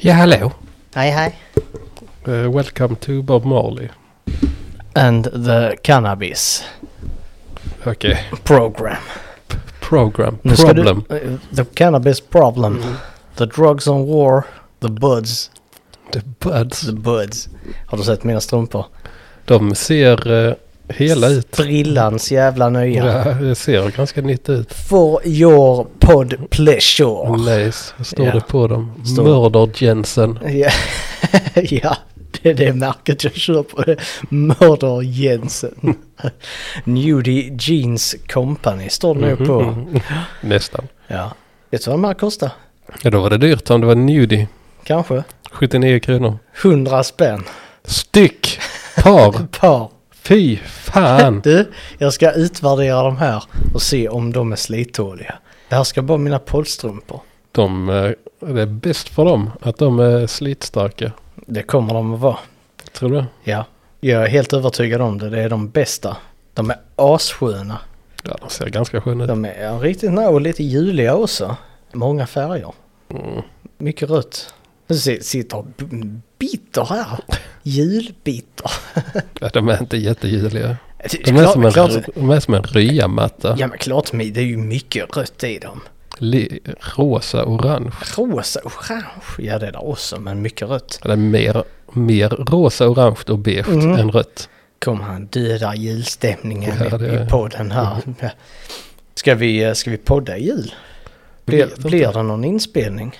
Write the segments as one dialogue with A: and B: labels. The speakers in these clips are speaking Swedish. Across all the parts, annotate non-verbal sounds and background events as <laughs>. A: Ja, hallå.
B: Hej hej.
A: Eh, welcome to Bob Marley.
B: And the cannabis
A: Okej.
B: program.
A: Program.
B: Nu ska du-
A: Problem.
B: eh, the cannabis problem. The drugs and war. Mm. The buds.
A: The buds.
B: The buds. Har du sett mina strumpor?
A: De ser eh, hela ut.
B: Brillans jävla nya.
A: Ja, det eh, ser ganska nytt ut.
B: For your pod pleasure.
A: Mm. Lace står
B: Ja.
A: det på dem.
B: Står-
A: Mörder Jensen.
B: Ja, <laughs> ja det är det märket jag kör på. Mörder Jensen. <laughs> Nudie Jeans Company står det nog
A: Mhm,
B: på.
A: mhm. Nästan.
B: Ja. Vet du vad de här kostar?
A: Ja, då var det dyrt om det var nudie.
B: Kanske
A: 79 kronor.
B: 100 spänn
A: Styck!
B: <laughs>
A: Par!
B: par.
A: Fy fan!
B: Du, jag ska utvärdera de här och se om de är slittåliga. Det här ska vara mina poddstrumpor.
A: De, eh, det är bäst för dem att de är slitstarka.
B: Det kommer de att vara.
A: Tror du?
B: Ja, jag är helt övertygad om det. Det är de bästa. De är assköna.
A: Ja, de ser ganska sköna ut.
B: De är ja, riktigt nära och lite juliga också. Många färger.
A: Mm.
B: Mycket rött. Nu si- sitter b- bitter här. Julbitter.
A: Ja, de är inte jättejuliga.
B: Det
A: De är,
B: klart-
A: som en,
B: klart-
A: r- de är som en ryamatta.
B: Ja men klart mig, det är ju mycket rött i dem.
A: Li- Rosa, orange.
B: Rosa, orange. Ja det är där också men mycket rött.
A: Eller mer, mer rosa, orange och beige
B: Mm.
A: än rött.
B: Kommer han döda julstämningen
A: Ja, det Mm.
B: i,
A: är-
B: i podden här. Ska vi, eh, ska vi podda i jul?
A: Vet
B: Blir,
A: inte.
B: blir det någon inspelning?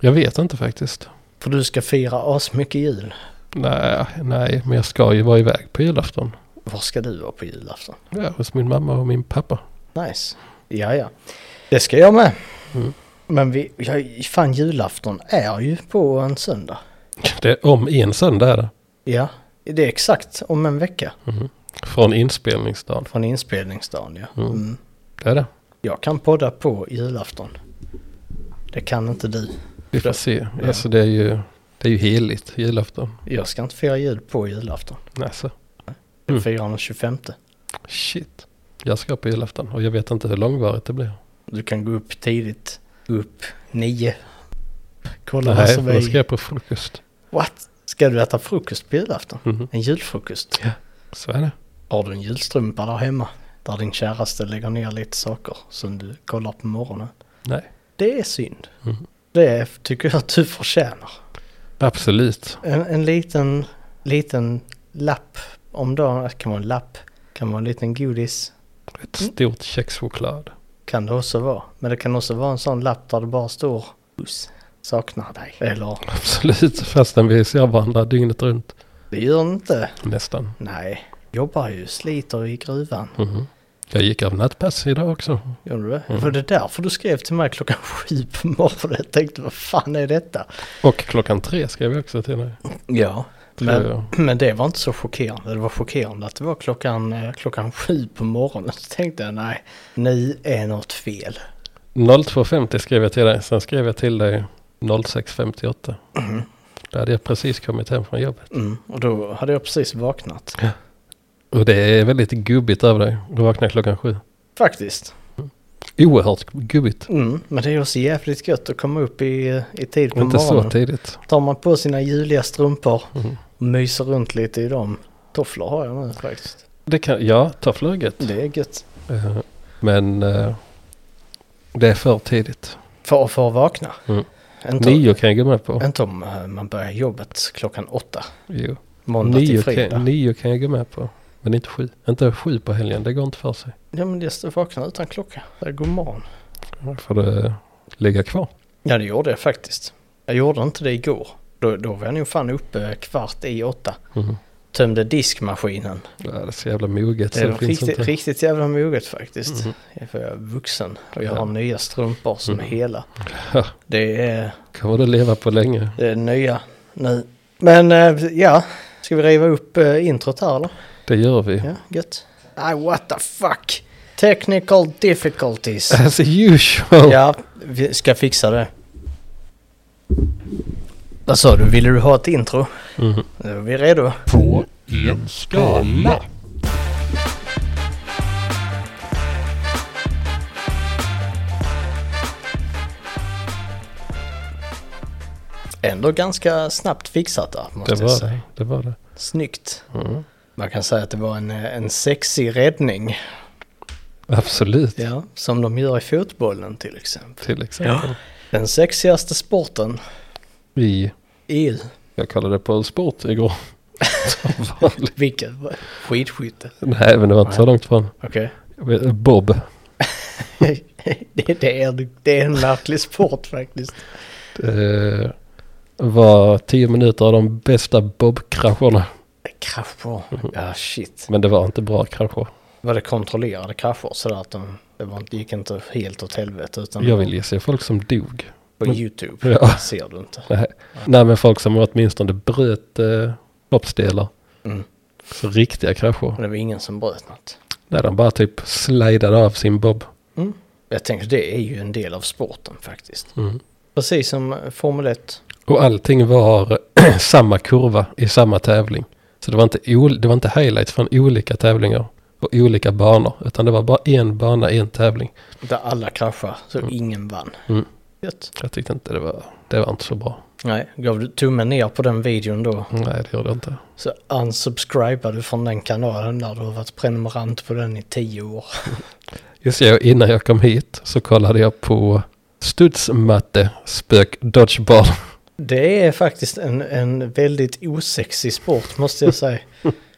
A: Jag vet inte faktiskt.
B: För du ska fira asmycket jul.
A: Nej, nej, men jag ska ju vara iväg på julafton.
B: Var ska du vara på julafton?
A: Ja, hos min mamma och min pappa.
B: Nice. Ja, ja. Det ska jag med.
A: Mm.
B: Men vi, ja, fan julafton är ju på en söndag.
A: Det är om en söndag är det.
B: Ja, det är exakt om en vecka
A: Från inspelningsdagen.
B: från inspelningsdagen. Ja.
A: Mm.
B: Mm.
A: Det är det.
B: Jag kan podda på julafton. Det kan inte du.
A: Vi får se. Alltså det är ju, det är ju heligt, julafton.
B: Jag ska inte fira jul på julafton.
A: Alltså,
B: Jag
A: Mm.
B: firar den 25.
A: shit. Jag ska på julafton och jag vet inte hur långvarigt det blir.
B: Du kan gå upp tidigt. Gå upp nio. Kolla vad
A: Nej,
B: som
A: för då ska
B: är...
A: jag på frukost.
B: What? Ska du äta frukost på julafton?
A: Mhm.
B: En julfrukost?
A: Så är det.
B: Har du en julstrumpa där hemma? Där din käraste lägger ner lite saker som du kollar på morgonen.
A: Nej,
B: Det är synd.
A: Mhm.
B: Det tycker jag att du förtjänar.
A: absolut.
B: En, en liten, liten lapp om dagen. Det kan vara en lapp. Kan vara en liten godis.
A: Ett stort kexchoklad.
B: Kan det också vara. Men det kan också vara en sån lapp där det bara står Puss. Saknar dig. Eller
A: Absolut, fastän vi ser varandra dygnet runt.
B: det gör den inte.
A: Nästan.
B: Nej. Jobbar ju, sliter i gruvan.
A: Mhm. Jag gick av nattpass idag också.
B: Gör du det? Var det därför du skrev till mig klockan <laughs> sju på morgonen? Jag tänkte vad fan är detta?
A: Och klockan tre skrev jag också till dig.
B: Ja,
A: Tror
B: men,
A: jag.
B: men det var inte så chockerande. Det var chockerande att det var klockan, eh, klockan sju på morgonen. Så tänkte jag nej, nu är något fel.
A: 02.50 skrev jag till dig. Sen skrev jag till dig 06.58. Då hade jag precis kommit hem från jobbet.
B: Mm. Och då hade jag precis vaknat.
A: Och det är väldigt gubbigt av dig. Du vaknar klockan sju.
B: Faktiskt.
A: Oerhört gubbigt.
B: Mm. Men det är också jävligt gött att komma upp i, i tid på
A: Inte så
B: morgonen.
A: tidigt.
B: Tar man på sina juliga strumpor
A: Mhm.
B: och myser runt lite i dem. Tofflor har jag nu faktiskt.
A: Det kan, ja, ta flyget.
B: Det är gött.
A: Eh, Men eh, det är för tidigt.
B: För, för att vakna.
A: Mm.
B: Inte,
A: Nio kan jag gå med på.
B: inte om eh, man börjar jobbet klockan åtta.
A: Jo.
B: Måndag
A: Nio
B: till fredag.
A: kan, nio kan jag gå med på. Men inte sju. Inte sju på helgen. Det går inte för sig.
B: Ja men jag stod vakna utan klocka. Jag går morgon.
A: Då får du eh, ligga kvar.
B: Ja det gjorde jag faktiskt. Jag gjorde inte det igår. Då, då var jag nog fan uppe kvart i åtta.
A: Mhm.
B: Tömde diskmaskinen.
A: Ja, det är så jävla moget.
B: Det
A: så
B: är
A: finns
B: riktigt,
A: inte. Mm.
B: riktigt jävla moget faktiskt.
A: Mhm.
B: För jag är vuxen och jag
A: Ja. Mm.
B: har nya strumpor som är hela.
A: Ja.
B: Det är,
A: Kommer du leva på länge?
B: det är nya nu. Men eh, ja, ska vi riva upp eh, introt här eller?
A: Det gör vi.
B: Ja, gött. Nej, Ah, what the fuck. Technical
A: <laughs>
B: difficulties.
A: As usual.
B: Ja, vi ska fixa det. Vad sa du? Ville du ha ett intro?
A: Mhm.
B: Nu är vi redo.
C: på en skala.
B: Ändå ganska snabbt fixat där. Måste
A: Det
B: jag
A: var
B: säga.
A: det. det, var det.
B: Snyggt.
A: Mm.
B: Man kan säga att det var en, eh, en sexig räddning.
A: Absolut,
B: Ja, som de gör i fotbollen till exempel.
A: till exempel.
B: Den sexigaste sporten E
A: Vi,
B: i EU.
A: jag kollade på sport igår. <laughs> Som
B: <laughs>
A: vanligt.
B: Vilken? Skidskytte.
A: Nej, men det var inte så långt från.
B: Okej.
A: Bob,
B: det, det, är, det är en märklig sport faktiskt.
A: det Eh, var tio minuter av de bästa Bob-krascherna.
B: <laughs> Krascher. Ja, shit.
A: Men det var inte bra krascher.
B: Var det kontrollerade krascher sådär att de, det var, inte- gick inte helt åt helvete utan
A: Jag vill ju se folk som dog.
B: på YouTube
A: Ja.
B: ser du inte.
A: Nej. Nej, men folk som åtminstone bröt eh, kroppsdelar.
B: Mm.
A: Så riktiga krascher.
B: Och det var ingen som bröt något.
A: Där de bara typ slidade av sin bob.
B: Jag tänker det är ju en del av sporten faktiskt.
A: Mm.
B: Precis som Formel 1.
A: Och allting var <clears throat> samma kurva i samma tävling. Så det var, inte ol- det var inte highlights från olika tävlingar och olika banor. Utan det var bara en bana, en tävling.
B: Där alla kraschar så
A: Mm.
B: ingen vann.
A: Mm.
B: Gött.
A: Jag tyckte inte det var, det var inte så bra.
B: Nej, gav du tummen ner på den videon då
A: Nej, det gjorde jag inte.
B: så unsubscribar du från den kanalen där du har varit prenumerant på den i tio år.
A: Just det, innan jag kom hit så kollade jag på studsmatte spök dodgeball. <laughs>
B: Det är faktiskt en, en väldigt osexig sport måste jag säga.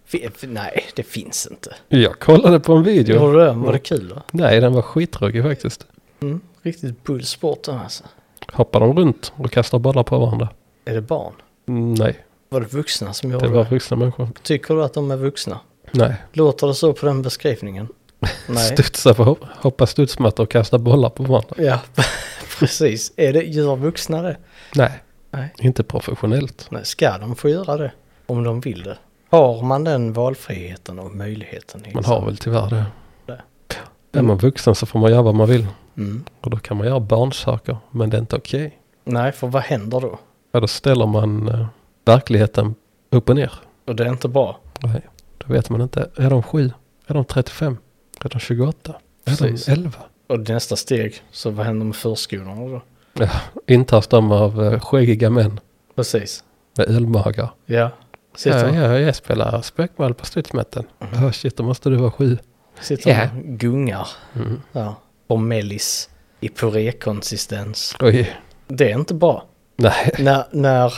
B: Fi- Nej, det finns inte.
A: Jag kollade på en video.
B: Gjorde du det? Var det kul då?
A: Nej, den var skittråkig faktiskt.
B: Mm. Riktigt bullsport den alltså.
A: Hoppar de runt och kastar bollar på varandra?
B: Är det barn?
A: Mm, Nej,
B: Var det vuxna som gjorde
A: det
B: det?
A: var vuxna människor.
B: Tycker du att de är vuxna?
A: Nej,
B: Låter det så på den beskrivningen? Nej.
A: studsa på hopp- hoppa studsmatta och kasta bollar på varandra.
B: Ja, <laughs> precis. Är det, gör vuxna det?
A: Nej.
B: Nej.
A: Inte professionellt.
B: Nej, ska de få göra det? Om de vill det? Har man den valfriheten och möjligheten?
A: Man har väl tyvärr det.
B: Det.
A: Är man vuxen så får man göra vad man vill.
B: Mm.
A: Och då kan man göra barnsaker. Men det är inte okej.
B: Nej, för vad händer då?
A: Ja, då ställer man eh, verkligheten upp och ner.
B: Och det är inte bra.
A: Nej. Då vet man inte. Är de sju? Är de 35? Är de 28?
B: Precis.
A: Är de 11?
B: Och nästa steg, så vad händer med förskolorna då?
A: Intas de av eh, skäggiga män
B: Precis.
A: med ölmagar?
B: Ja. Sitter,
A: Ja, ja, jag spelar spökmål på studsmätten. Ja, shit, då måste du vara sju.
B: sitter
A: Ja.
B: och gungar.
A: Mm.
B: Ja. Och mellis i purékonsistens.
A: Oj.
B: Det är inte bra.
A: Nej,
B: när, när,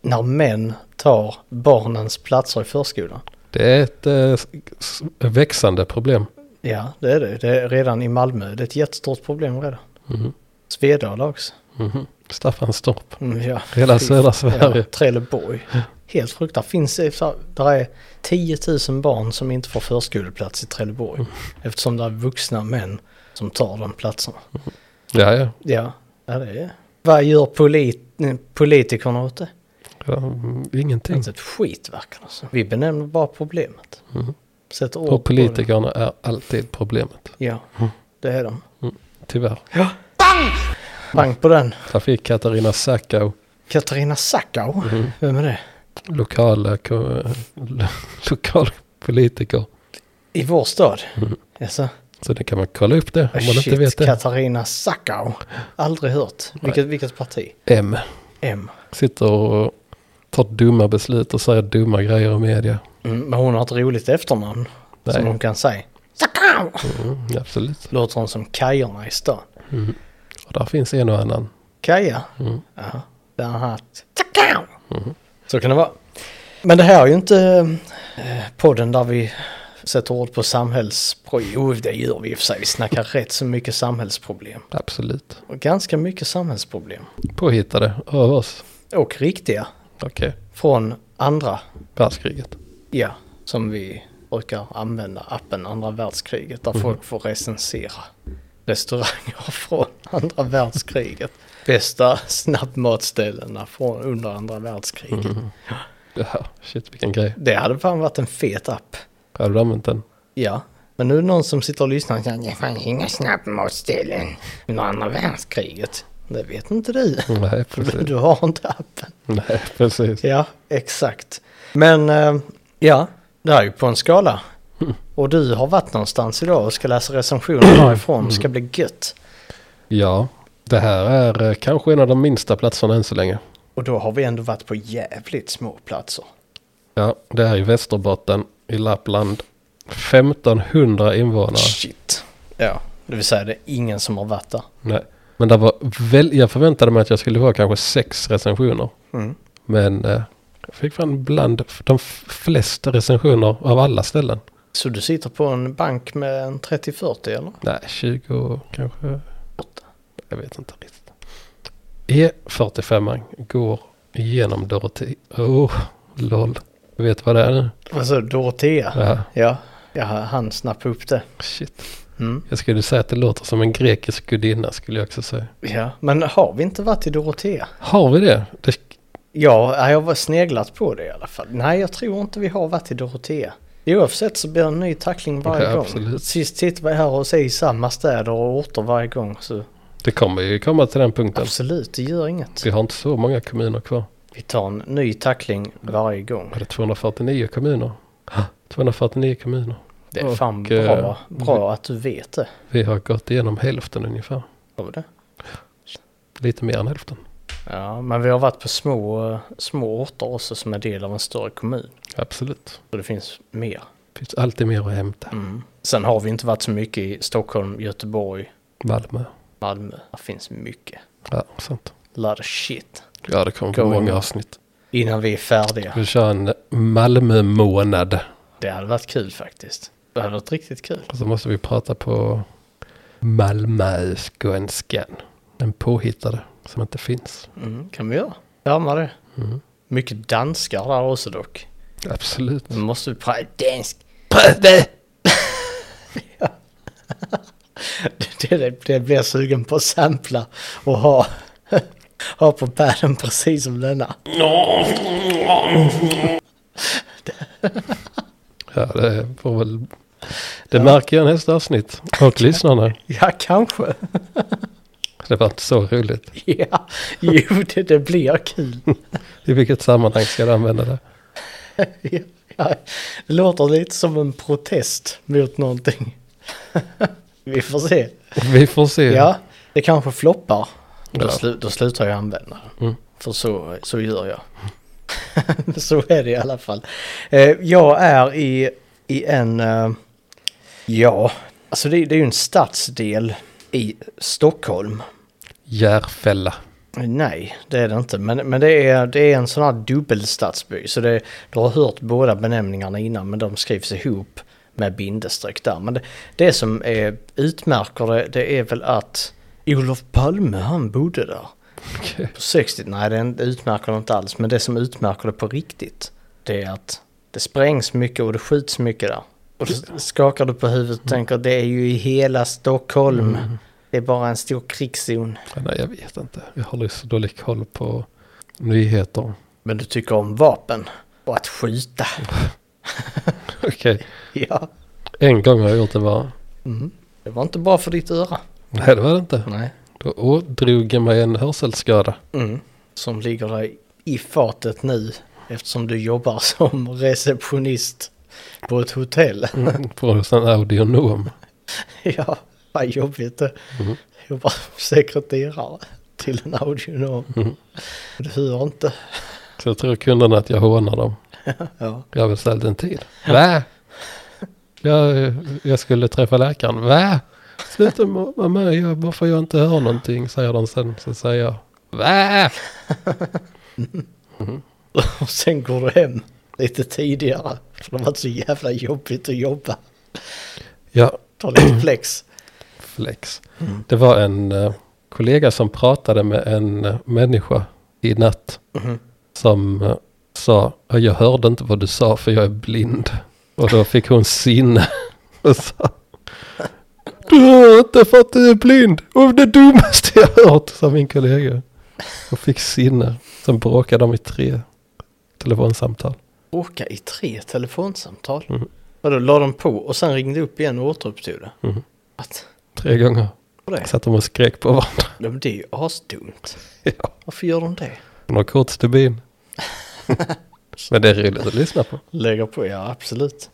B: när män tar barnens platser i förskolan.
A: det är ett eh, s- s- växande problem.
B: Ja, det är det. Det är redan i Malmö. Det är ett jättestort problem redan.
A: Mhm.
B: Svedala också.
A: Mhm. Staffanstorp.
B: Mm, ja.
A: Hela
B: Fy-
A: södra Sverige.
B: Ja, Trelleborg. Helt fruktansvärt. Finns det, så- där är 10 000 barn som inte får förskoleplats i Trelleborg.
A: Mm.
B: Eftersom det är vuxna män som tar de platserna.
A: Ja, ja.
B: Ja, ja det är Vad gör polit, eh, politikerna åt det?
A: ja. mm, Ingenting.
B: Inte ett skit verkar det som. Vi benämner bara problemet.
A: Mhm.
B: Sätter ord på
A: Och
B: det.
A: politikerna är alltid problemet.
B: Ja, det är de.
A: Tyvärr.
B: Bang på den.
A: Trafik Katarina Sackau,
B: Katarina Sackau.
A: Mm.
B: Vem är det?
A: lokala, ko- <laughs> lo- lokal politiker.
B: I vår stad?
A: Mm.
B: Jaså?
A: Så det kan man kolla upp det om man
B: Shit,
A: inte vet det.
B: Katarina Sackau. Aldrig hört. Vilket, vilket parti?
A: M
B: M.
A: sitter och tar dumma beslut och säger dumma grejer i media.
B: Mm, men hon har ett roligt efternamn.
A: Nej,
B: Som hon kan säga. Sackau!
A: mm, absolut.
B: Låter hon som Kajerna i stan.
A: Och där finns en och annan.
B: Kaja?
A: Mm.
B: Jaha. Där har han haft. Sackau!
A: Mm-hmm.
B: Så kan det vara. Men det här är ju inte eh, podden där vi sätter ord på samhällsproblem. Jo, det gör vi i och för sig. Vi snackar rätt så mycket samhällsproblem.
A: Absolut.
B: Och ganska mycket samhällsproblem.
A: Påhittade av oss.
B: Och riktiga
A: Okej.
B: från andra,
A: Världskriget.
B: ja, som vi brukar använda appen andra världskriget där folk får recensera restauranger <laughs> från andra världskriget. Bästa snabbmatställena från under andra världskriget.
A: Ja, shit vilken grej.
B: Det hade fan varit en fet app.
A: Hade du använt den?
B: Ja, men nu är det någon som sitter och lyssnar och säger det fanns inga snabbmatställen under andra världskriget. Det vet inte du.
A: Nej,
B: för <laughs>
A: precis.
B: Du har inte appen.
A: Nej, precis.
B: Ja, exakt. Men eh, ja, det här är ju på en skala. Och du har varit någonstans idag och ska läsa recensioner därifrån. Det ska bli gött.
A: Ja, det här är eh, kanske en av de minsta platserna än så länge.
B: Och då har vi ändå varit på jävligt små platser.
A: Ja, det här är i Västerbotten i Lappland. 1500 invånare.
B: Shit. Ja, det vill säga det är ingen som har varit där.
A: Nej. Men det var väl, jag förväntade mig att jag skulle få kanske sex recensioner.
B: Mm.
A: Men eh, jag fick fan bland de f- flesta recensioner av alla ställen.
B: Så du sitter på en bank med en 30-40 eller?
A: Nej, 20 och kanske... Jag vet inte riktigt. E45 går genom Dorotea. Oh, lol. Du vet vad det är nu?
B: Alltså Dorotea?
A: Ja,
B: Ja, jag hann snappa upp det.
A: shit.
B: Mm.
A: Jag skulle säga att det låter som en grekisk gudinna skulle jag också säga.
B: Ja, men har vi inte varit i Dorotea?
A: Har vi det? det
B: Ja, jag har sneglat på det i alla fall. Nej, jag tror inte vi har varit i Dorotea. Oavsett så blir det en ny tackling varje
A: Ja,
B: gång.
A: absolut.
B: Sist sitter vi här och säger samma städer och orter varje gång. Så
A: det kommer ju komma till den punkten.
B: absolut, det gör inget.
A: Vi har inte så många kommuner kvar.
B: Vi tar en ny tackling varje gång.
A: Är det 249 kommuner? 249 kommuner.
B: Det är fan
A: Och, eh,
B: bra, bra att du vet det.
A: Vi har gått igenom hälften ungefär.
B: Har vi det?
A: Lite mer än hälften.
B: Ja, men vi har varit på små, eh, små orter också som är del av en större kommun.
A: Absolut.
B: Så det finns mer. Mm.
A: Det finns alltid mer att hämta.
B: Sen har vi inte varit så mycket i Stockholm, Göteborg,
A: Malmö.
B: Malmö. Det finns mycket.
A: Ja, sant.
B: Lot of shit.
A: Ja, det kommer
B: Going
A: många
B: on.
A: avsnitt.
B: Innan vi är färdiga.
A: Vi kör en Malmö-månad.
B: Det hade varit kul faktiskt. Det hade varit riktigt kul.
A: Och så måste vi prata på Malmöskånskan. Den påhittade som inte finns.
B: Mm, kan vi göra. Värma det.
A: Mm.
B: Mycket danskar där också dock.
A: Absolut.
B: Nu måste vi prata dansk. <laughs>
A: Pröve!
B: Det, det, det blir jag sugen på att sampla och ha, <laughs> ha på paden precis som denna.
A: Ja, det får väl... Det märker jag nästa avsnitt. Och lyssnarna.
B: Ja, kanske.
A: Det var inte så roligt.
B: <laughs> Ja, jo, det, det blir kul.
A: I vilket sammanhang ska du använda det?
B: Ja, det låter lite som en protest mot någonting. <laughs> Vi får se.
A: Vi får se.
B: Ja, det kanske floppar. Då,
A: Ja.
B: slu, då slutar jag använda det.
A: Mm.
B: För så, så gör jag. <laughs> så är det i alla fall. Eh, jag är i, i en... Eh, ja, alltså det, det är ju en stadsdel i Stockholm.
A: Järfälla.
B: Eh, Nej, det är det inte. Men, men det, är, det är en sån här dubbelstadsby. Så det, du har hört båda benämningarna innan men de skrivs ihop med bindestreck där. Men det, det som är, utmärker det, det är väl att Olof Palme han bodde där.
A: Okej.
B: På 60, nej det är inte- utmärker det inte alls. Men det som utmärker det på riktigt det är att det sprängs mycket och det skjuts mycket där. Och då skakar du på huvudet och tänker det är ju i hela Stockholm. Det är bara en stor krigszon.
A: Ja, Nej, jag vet inte. Jag har så dålig koll på nyheter.
B: Men du tycker om vapen och att <laughs> skjuta.
A: Okej.
B: Ja. Mm.
A: En gång har jag gjort det bara.
B: Det var inte bra för ditt öra.
A: Nej, det var det inte.
B: Nej.
A: Då ådrog jag mig en hörselskada.
B: Mm. Som ligger dig i fatet nu eftersom du jobbar <laughs> som receptionist på ett hotell. <laughs>
A: Mm, På en sån audionom.
B: ja, vad jobbigt det. Jobbar som sekreterare till en audionom. Du hör inte.
A: Så jag tror kunderna att jag hånar dem.
B: Ja.
A: Jag har beställt en tid. Va? Jag, jag skulle träffa läkaren. Va? Sluta må- vara med. Jag, varför jag inte hör någonting säger de sen. Så säger jag. Va?
B: Och sen går du hem lite tidigare. För det har varit så jävla jobbigt att jobba.
A: Ja,
B: Ta lite flex.
A: flex.
B: Mm.
A: Det var en eh, kollega som pratade med en eh, människa i natt. Som eh, sa, "Ja, jag hörde inte vad du sa för jag är blind. Och då fick hon sinne. <laughs> Och sa, du hör inte för att du är blind. Och det dummaste jag hört, sa min kollega. Och fick sinne. Sen bråkade de i tre telefonsamtal.
B: åka i tre telefonsamtal.
A: Mhm.
B: Och då la de på och sen ringde upp igen och återupptog det.
A: Mhm.
B: Att,
A: Tre gånger.
B: det,
A: Satt de och skrek på varandra. <laughs>
B: ja, men det är ju asdumt.
A: Ja.
B: Varför gör de det?
A: Hon har kortstubin. Men det är roligt att lyssna på.
B: Lägger på, ja absolut.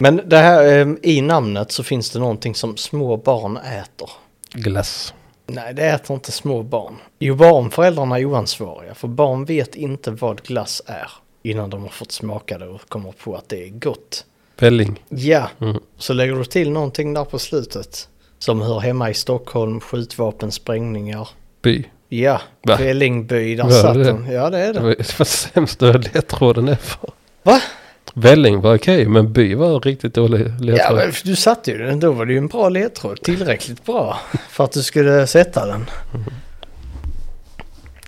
B: Men ehm, det här eh, i namnet så finns det någonting som små barn äter.
A: Glass.
B: Nej, det äter inte små barn. Jo, barnföräldrarna är oansvariga, för barn vet inte vad glass är innan de har fått smaka det och kommer på att det är gott.
A: Välling.
B: Ja,
A: Mm.
B: så lägger du till någonting där på slutet som hör hemma i Stockholm, skjutvapen, sprängningar.
A: By.
B: Ja,
A: Va?
B: Vällingby, där
A: Vad är
B: satt
A: det?
B: den. Ja, det är
A: Det
B: det.
A: var, det var sämsta ledtråden ever.
B: Va?
A: Välling var okej, men by var riktigt dålig ledtråd.
B: Ja, men du satte ju den. Då var det ju en bra ledtråd. Tillräckligt bra för att du skulle sätta den.
A: Mm.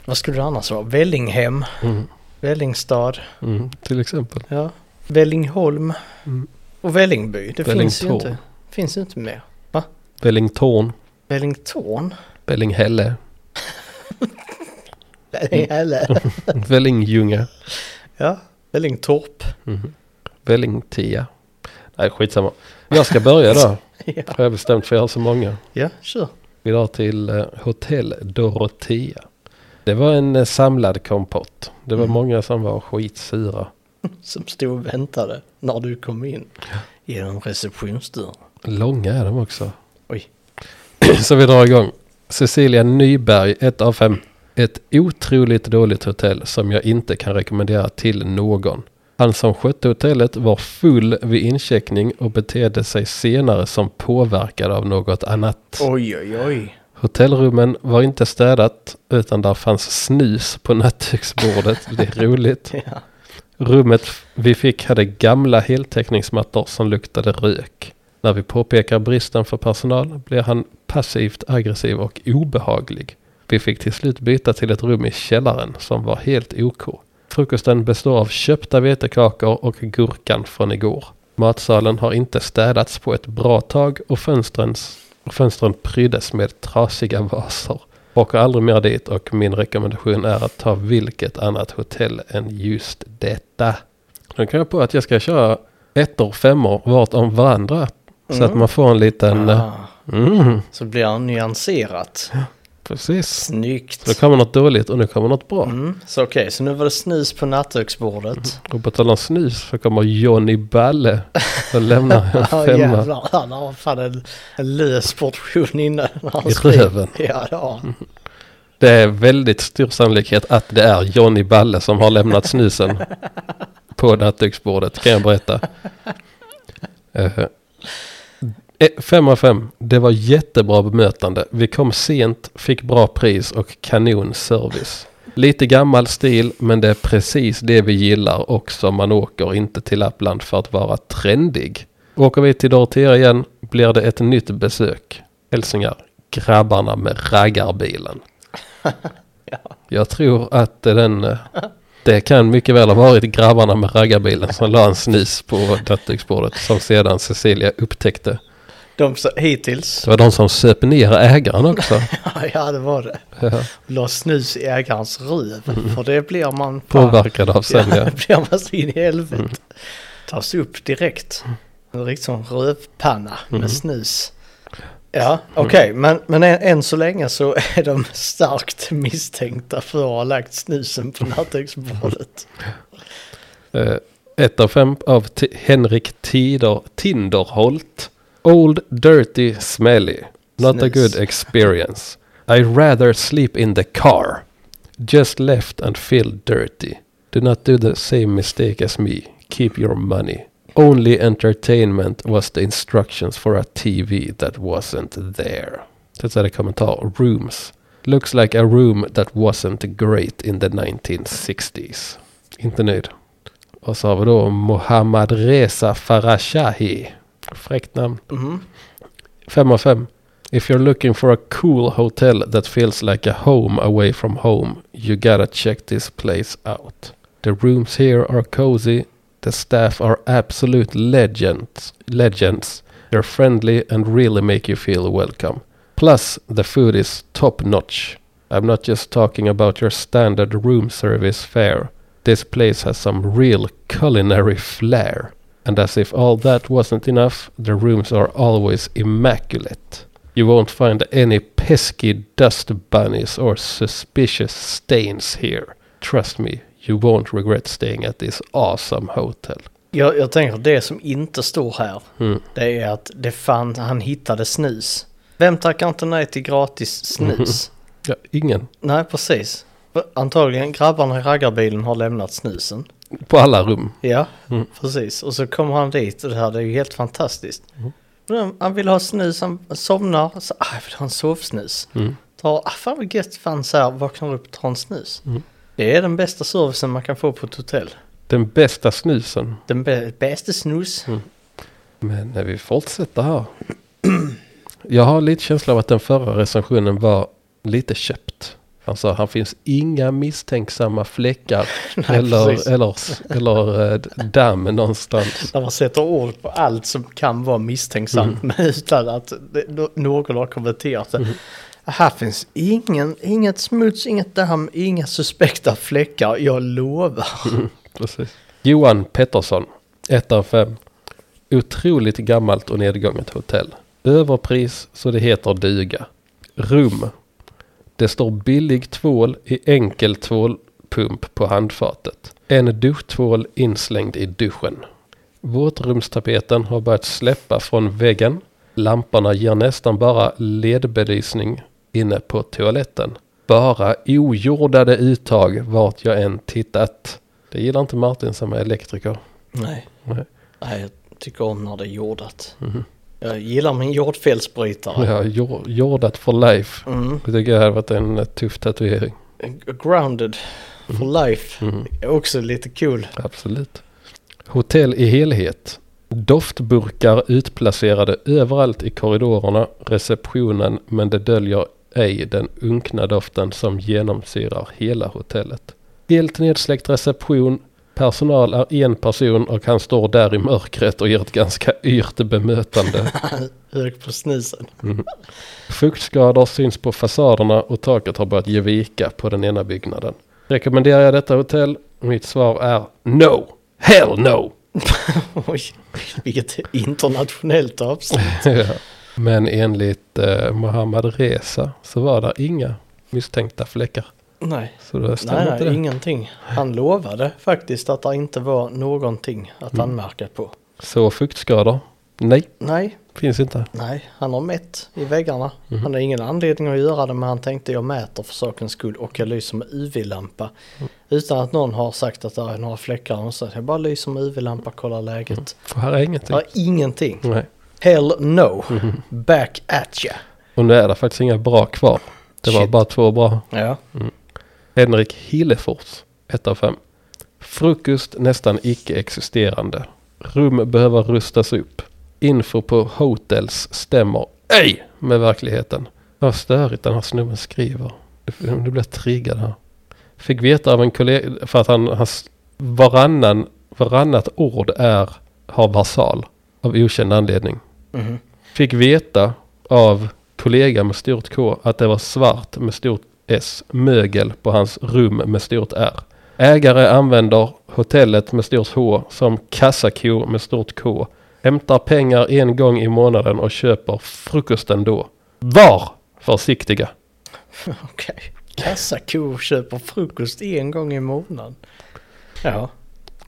B: Vad skulle det annars vara? Vällinghem,
A: Mm.
B: Vällingstad,
A: Mm, till exempel.
B: ja. Vällingholm
A: Mm.
B: och Vällingby. Det finns ju
A: Vällingtorn.
B: inte, finns ju inte mer. Va?
A: Vällington.
B: Vällingtorn? <laughs>
A: Vällinghälle. Mm.
B: Vällinghälle?
A: Vällingljunga.
B: <laughs> Ja, Vällingtorp.
A: mm, Vällingtia. Nej, skitsamma. Jag ska börja
B: <laughs>
A: då.
B: Ja,
A: Har jag bestämt för jag har så många.
B: ja kör.
A: Vi drar till eh, Hotell Dorotea. Det var en eh, samlad kompott. Det
B: Mm.
A: var många som var skitsura.
B: Som stod och väntade när du kom in genom receptionsdörren.
A: Långa är de också.
B: Oj.
A: <clears throat> Så vi drar igång. Cecilia Nyberg, 1 av 5. Ett otroligt dåligt hotell som jag inte kan rekommendera till någon. Han som skötte hotellet var full vid incheckning och betedde sig senare som påverkad av något annat.
B: Oj, oj, oj.
A: Hotellrummen var inte städat utan där fanns snus på <laughs> nattduksbordet. Det är roligt.
B: Ja.
A: Rummet vi fick hade gamla heltäckningsmattor som luktade rök. När vi påpekar bristen för personal blir han passivt aggressiv och obehaglig. Vi fick till slut byta till ett rum i källaren som var helt OK. Frukosten består av köpta vetekakor och gurkan från igår. Matsalen har inte städats på ett bra tag och fönstren, och fönstren pryddes med trasiga vaser. Åker aldrig mer dit och min rekommendation är att ta vilket annat hotell än just detta. Nu kan jag på att jag ska köra ettor och femmor vart om varandra. Så
B: Mm.
A: att man får en liten... eh,
B: Ah,
A: Mm,
B: så blir han nyanserat.
A: precis. Då
B: Snyggt.
A: kommer något dåligt och nu kommer något bra.
B: Mm. Så okej, så nu var det snus
A: <laughs>
B: på nattduksbordet.
A: Och på tal om snus så kommer Johnny Balle och
B: <laughs>
A: lämnar en
B: Ja
A: femma
B: jävlar, han har fan en, en lös portion innan han
A: i
B: springer.
A: röven. Mm.
B: Ja, ja.
A: Det är väldigt stor sannolikhet att det är Johnny Balle som har lämnat snusen på nattduksbordet, kan jag berätta. Eh, eh, Fem av fem. Det var jättebra bemötande. Vi kom sent, fick bra pris och kanon service. Lite gammal stil, men det är precis det vi gillar och som man åker inte till Lappland för att vara trendig. Åker vi till Dorotea igen blir det ett nytt besök. Hälsningar, grabbarna med raggarbilen. Jag tror att den... eh, Det kan mycket väl ha varit grabbarna med raggarbilen som la en snus på nattduksbordet som sedan Cecilia upptäckte.
B: De sa hittills. <laughs>
A: Det var de som söp ner ägaren också. <laughs>
B: Ja, det var det.
A: Ja,
B: La snus i ägarens
A: Mm.
B: röv. För det blir man... fan-
A: Påverkade av
B: <laughs> Ja,
A: sen ja.
B: det blir man så in i helvete. Tas upp direkt. En riktig sån rövpanna med snus. Ja, okej, men, men än, än så länge så är de starkt misstänkta för att ha lagt snusen på nattduksbordet.
A: Eh, Ett av fem av T- Henrik Tider Tinderholt. Old, dirty, smelly. Not a
B: Snus.
A: good experience. I rather sleep in the car. Just left and feel dirty. Do not do the same mistake as me. Keep your money. Only entertainment was the instructions for a TV that wasn't there. Sen så är det kommentar. Rooms. Looks like a room that wasn't great in the 1960s. Inte nöjd. Och så har vi då Mohammad Reza Farashahi. Fräckt namn.
B: Mhm.
A: Fem av fem. If you're looking for a cool hotel that feels like a home away from home, you gotta check this place out. The rooms here are cozy. The staff are absolute legends. Legends. They're friendly and really make you feel welcome. Plus, the food is top notch. I'm not just talking about your standard room service fare. This place has some real culinary flair. And as if all that wasn't enough, the rooms are always immaculate. You won't find any pesky dust bunnies or suspicious stains here. Trust me, you won't regret staying at this awesome hotel.
B: Jag, jag tänker det som inte står här,
A: Mm.
B: det är att det fann, han hittade snus. Vem tackar inte nej till gratis snus?
A: Ja, ingen.
B: Nej, precis. Antagligen grabbarna i raggarbilen har lämnat snusen.
A: På alla rum.
B: Ja,
A: Mm.
B: precis. Och så kommer han dit och det här det är ju helt fantastiskt.
A: Mm.
B: Men Han vill ha snus, han somnar. Så, ah, jag vill ha en sovsnus.
A: Mm.
B: Tar, ah, fan vad gött, fan så här, vaknar upp och tar en snus.
A: Mm.
B: Det är den bästa servicen man kan få på ett hotell.
A: Den bästa snusen.
B: Den bä- bästa snus.
A: Men när vi fortsätter här. Jag har lite känsla av att den förra recensionen var lite köpt. Han sa han finns inga misstänksamma fläckar
B: precis.
A: eller, eller, s- eller eh, damm någonstans.
B: Där man sätter ord på allt som kan vara misstänksamt
A: Mm.
B: men <laughs> utan att det, no- någon har kommenterat det. Här finns ingen, inget smuts, inget damm, inga suspekta fläckar, jag lovar.
A: Precis. Johan Pettersson, 1 av 5. Otroligt gammalt och nedgånget hotell. Överpris så det heter duga. Rum. Det står billig tvål i enkel tvålpump på handfatet. En duschtvål inslängd i duschen. Våtrumstapeten har börjat släppa från väggen. Lamporna ger nästan bara ledbelysning inne på toaletten. Bara ojordade uttag vart jag än tittat. Det gillar inte Martin som är elektriker.
B: Nej.
A: Nej.
B: Nej, jag tycker om när det är jordat.
A: Mhm.
B: Jag gillar min jordfelsbrytare.
A: Ja, jor- jordat for life.
B: Mm.
A: Det tycker jag hade varit en eh, tuff tatuering. Mhm.
B: Grounded
A: Mm.
B: for life. Är Också lite kul.
A: Absolut. Hotell i helhet. Doftburkar utplacerade överallt i korridorerna, receptionen, men det döljer ej den unkna doften som genomsyrar hela hotellet. Helt nedsläckt reception, personal är en person och han står där i mörkret och ger ett ganska yrt bemötande.
B: <laughs> Hög på snusen. <laughs>
A: Fuktskador syns på fasaderna och taket har börjat ge vika på den ena byggnaden. Rekommenderar jag detta hotell? Mitt svar är no! Hell
B: <laughs>
A: no!
B: Oj, vilket internationellt avsnitt.
A: Ja. Men enligt eh, Mohammad Reza så var där inga misstänkta fläckar.
B: Nej.
A: Så det stämmer
B: Nej,
A: inte
B: nej,
A: det.
B: ingenting. Han lovade faktiskt att det inte var någonting att
A: Mm.
B: anmärka på.
A: Så fuktskador? Nej,
B: Nej,
A: finns inte.
B: nej, han har mätt i väggarna.
A: Mhm.
B: Han har ingen anledning att göra det, men han tänkte jag mäter för sakens skull och jag lyser med UV-lampa.
A: Mm.
B: Utan att någon har sagt att det är några fläckar. Och så jag bara lyser med UV-lampa, kollar läget.
A: För här är
B: Det
A: ingenting.
B: är ingenting.
A: Nej.
B: Hell no.
A: Mm.
B: Back at ya.
A: Och nu är det faktiskt inga bra kvar. Det var
B: Shit.
A: bara två bra.
B: Ja.
A: Henrik Hillefors, 1 av 5. Frukost nästan icke-existerande. Rum behöver rustas upp. Info på hotels stämmer ej med verkligheten. Vad störigt den här snubben skriver. Du blir triggad här. Fick veta av en kollega, för att han, hans varannan, varannat ord är, har versal. Av okänd anledning.
B: Mhm.
A: Fick veta av kollega med stort K att det var svart med stort S, mögel på hans rum med stort R. Ägare använder hotellet med stort H som kassako med stort K. Hämtar pengar en gång i månaden och köper frukosten då. Var försiktiga.
B: <laughs> Okej. Kassako köper frukost en gång i månaden. Ja.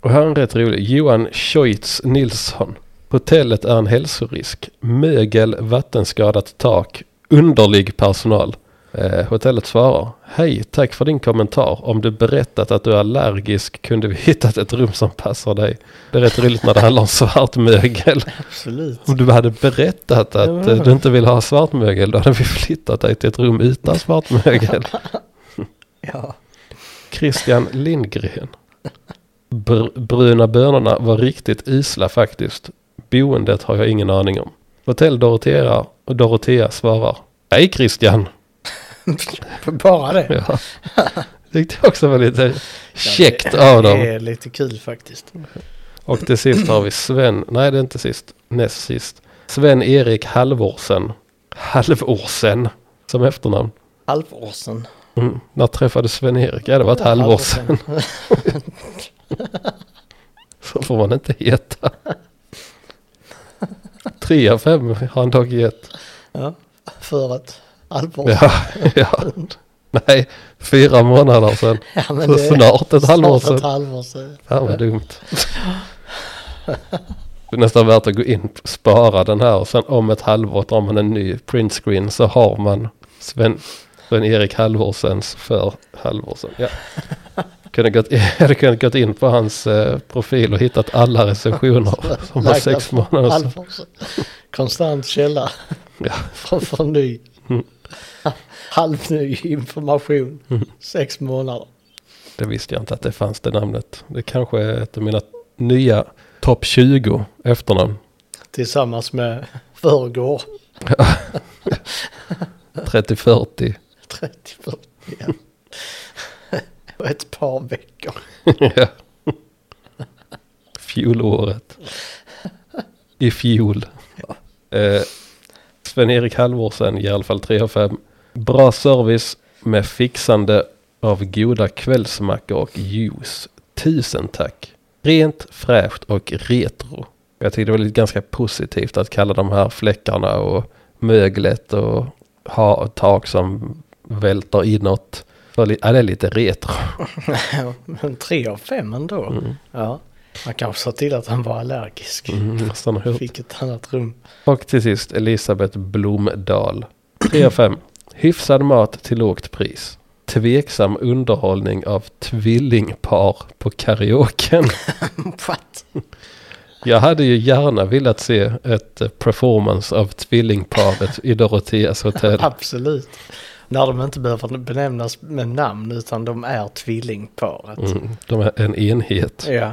A: Och här är en rätt rolig. Johan Scheutz Nilsson. Hotellet är en hälsorisk. Mögel, vattenskadat tak, underlig personal. Eh, hotellet svarar. Hej, tack för din kommentar. Om du berättat att du är allergisk kunde vi <laughs> hittat ett rum som passar dig. Det är rätt roligt när det handlar om svart mögel.
B: Absolut.
A: Om du hade berättat att eh, du inte vill ha svart mögel då hade vi flyttat dig till ett rum utan svart mögel.
B: Ja.
A: Christian Lindgren. Br- bruna bönorna var riktigt isla faktiskt. Boendet har jag ingen aning om. Hotell Dorotea och Dorotea svarar. Hej Christian!
B: Bara det.
A: Ja. Tyckte jag också var lite käckt av
B: Det <laughs>
A: dem.
B: är lite kul faktiskt.
A: Och till sist har vi Sven. Nej, det är inte sist. Näst sist. Sven-Erik Halvorsen. Halvorsen. Som efternamn.
B: Halvårsen.
A: Mm. När träffade Sven-Erik? Ja, det var ett halvår sedan. Så får man inte heta. Tre av fem har han dock gett.
B: Ja. För att halvårsen.
A: Ja, ja. Nej, fyra månader sedan.
B: Ja, men
A: Så
B: det är
A: snart ett halvår
B: snart ett
A: sedan.
B: halvår sedan.
A: Fan vad dumt. Det är nästan värt att gå in och spara den här och sen om ett halvår drar man en ny printscreen så har man Sven, Sven Erik Halvorsens för halvårsen. Ja. Kunde gått, jag <laughs> hade kunnat gått in på hans eh, profil och hittat alla recensioner som var
B: Lagda
A: sex
B: på
A: månader sedan.
B: Alfons. Konstant källa
A: Alltså. Ja. Mm.
B: från, från ny. Halvny information.
A: Mm.
B: Sex månader.
A: Det visste jag inte att det fanns det namnet. Det kanske är ett av mina nya topp 20 efternamn.
B: Tillsammans med förrgår.
A: 30-40.
B: 30
A: <laughs>
B: ja. Och ett par veckor.
A: Ja. Fjolåret. I fjol. Eh, Sven-Erik Halvorsen ger i alla fall 3 av 5. Bra service med fixande av goda kvällsmackor och juice. Tusen tack. Rent, fräscht och retro. Jag tyckte det var lite ganska positivt att kalla de här fläckarna och möglet och ha ett tak som välter inåt. För li- Ja, det är lite retro.
B: Men tre av fem ändå. Ja. Man kanske sa till att han var allergisk.
A: Mm, nästan har gjort.
B: Fick ett annat rum. <laughs>
A: Och till sist Elisabeth Blomdahl. 3 av 5. Hyfsad mat till lågt pris. Tveksam underhållning av tvillingpar på karaoken.
B: What?
A: Jag hade ju gärna velat se ett eh, performance av tvillingparet i Doroteas hotell.
B: Absolut. När de inte behöver benämnas med namn utan de är tvillingparet.
A: Mm, de är en enhet.
B: Ja.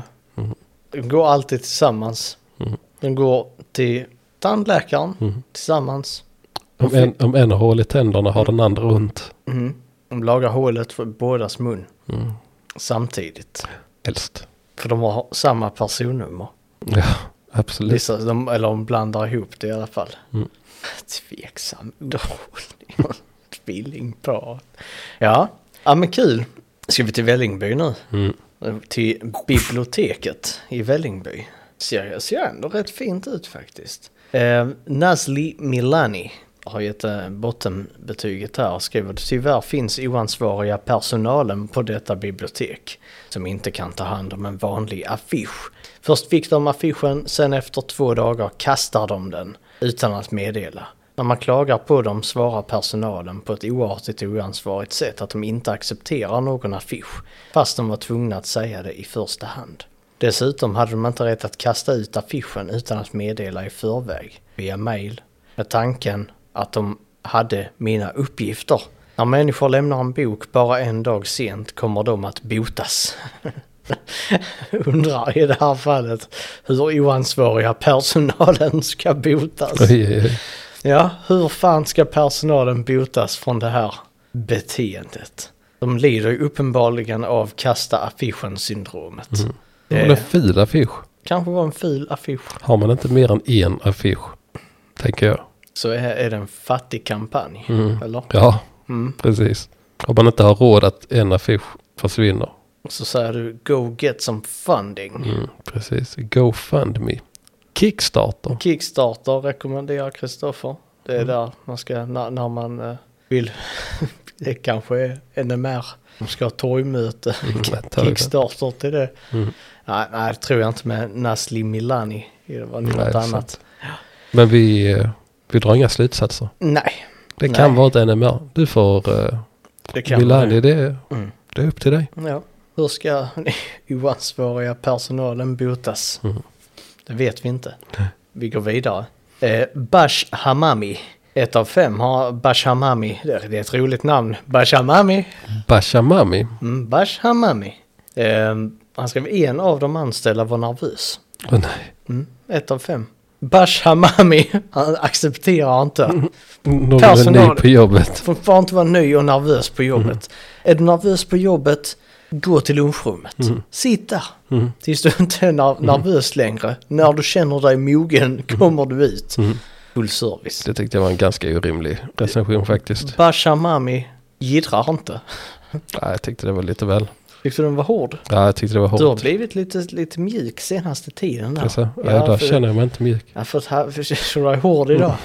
B: De går alltid tillsammans.
A: Mm.
B: De går till tandläkaren
A: Mm.
B: tillsammans.
A: Om en, om en har hål i tänderna har den andra ont.
B: Mm. De lagar hålet för bådas mun
A: Mm.
B: samtidigt.
A: Helst.
B: För de har samma personnummer.
A: Mm. Ja, absolut.
B: Vissa, de, eller de blandar ihop det i alla fall.
A: Mm.
B: Tveksam <laughs> underhållning och tvillingpar. Ja. ja, men kul. Ska vi till Vällingby nu?
A: Mm.
B: Till biblioteket i Vällingby. Ser, ser ändå rätt fint ut faktiskt. Eh, Nazli Milani har gett eh, bottenbetyget här och skriver tyvärr finns oansvariga personalen på detta bibliotek som inte kan ta hand om en vanlig affisch. Först fick de affischen, sen efter två dagar kastar de den utan att meddela. När man klagar på dem svarar personalen på ett oartigt och oansvarigt sätt att de inte accepterar någon affisch, fast de var tvungna att säga det i första hand. Dessutom hade de inte rätt att kasta ut affischen utan att meddela i förväg, via mail, med tanken att de hade mina uppgifter. När människor lämnar en bok bara en dag sent kommer de att botas. <laughs> Undrar i det här fallet hur oansvariga personalen ska botas.
A: Oj, oj, oj.
B: Ja, hur fan ska personalen botas från det här beteendet? De lider ju uppenbarligen av kasta affischen-syndromet.
A: Det var en ful affisch.
B: Kanske var en ful affisch.
A: Har man inte mer än en affisch? Tänker jag.
B: Så är, är det en fattig kampanj,
A: Mm.
B: eller?
A: Ja,
B: Mm.
A: precis. Om man inte har råd att en affisch försvinner.
B: Så säger du go get some funding.
A: Mm, precis. GoFundMe. Kickstarter.
B: Kickstarter rekommenderar Kristoffer. Det är där man ska, när, när man eh, vill, <laughs> det kanske är NMR, de ska ha torgmöte. <laughs>
A: Mm, jag tar det.
B: Kickstarter till det. Nej, nej, det tror jag inte med Nasli Milani. Det var något
A: Nej,
B: annat.
A: sant. Men vi, eh, vi drar inga slutsatser.
B: Nej,
A: Det
B: Nej.
A: kan vara ett NMR. Du får... Uh,
B: det kan
A: Milani, det,
B: Mm.
A: det är upp till dig.
B: Ja. Hur ska <laughs> oansvariga personalen botas? Det vet vi inte. Vi går vidare. Eh, Bash Hamami. Ett av fem har Bash Hamami. Det det är ett roligt namn. Bash Hamami.
A: Bashamami.
B: Mm, Bash Hamami. Eh, han skrev en av de anställda var nervös.
A: Åh, nej.
B: Mm, ett av fem. Bash Hamami. <laughs> Han accepterar inte.
A: Någon är
B: Personal.
A: ny på jobbet.
B: Får bara inte vara ny och nervös på jobbet.
A: Mm.
B: Är du nervös på jobbet, gå till lunchrummet. Sitt där.
A: Mm.
B: Tills du inte är ner- nervös längre. När du känner dig mogen
A: Mm.
B: kommer du ut. Full service.
A: Det tyckte jag var en ganska orimlig
B: Mm.
A: recension faktiskt.
B: Bashamami jiddrar inte.
A: Nej, jag tyckte det var lite väl.
B: Tyckte den var hård?
A: Ja, jag tyckte det var
B: Du har
A: hårt.
B: blivit lite, lite mjuk senaste tiden där.
A: Alltså, ja, där
B: för-
A: känner jag mig inte mjuk.
B: Ja, för att här, för så du är hård idag.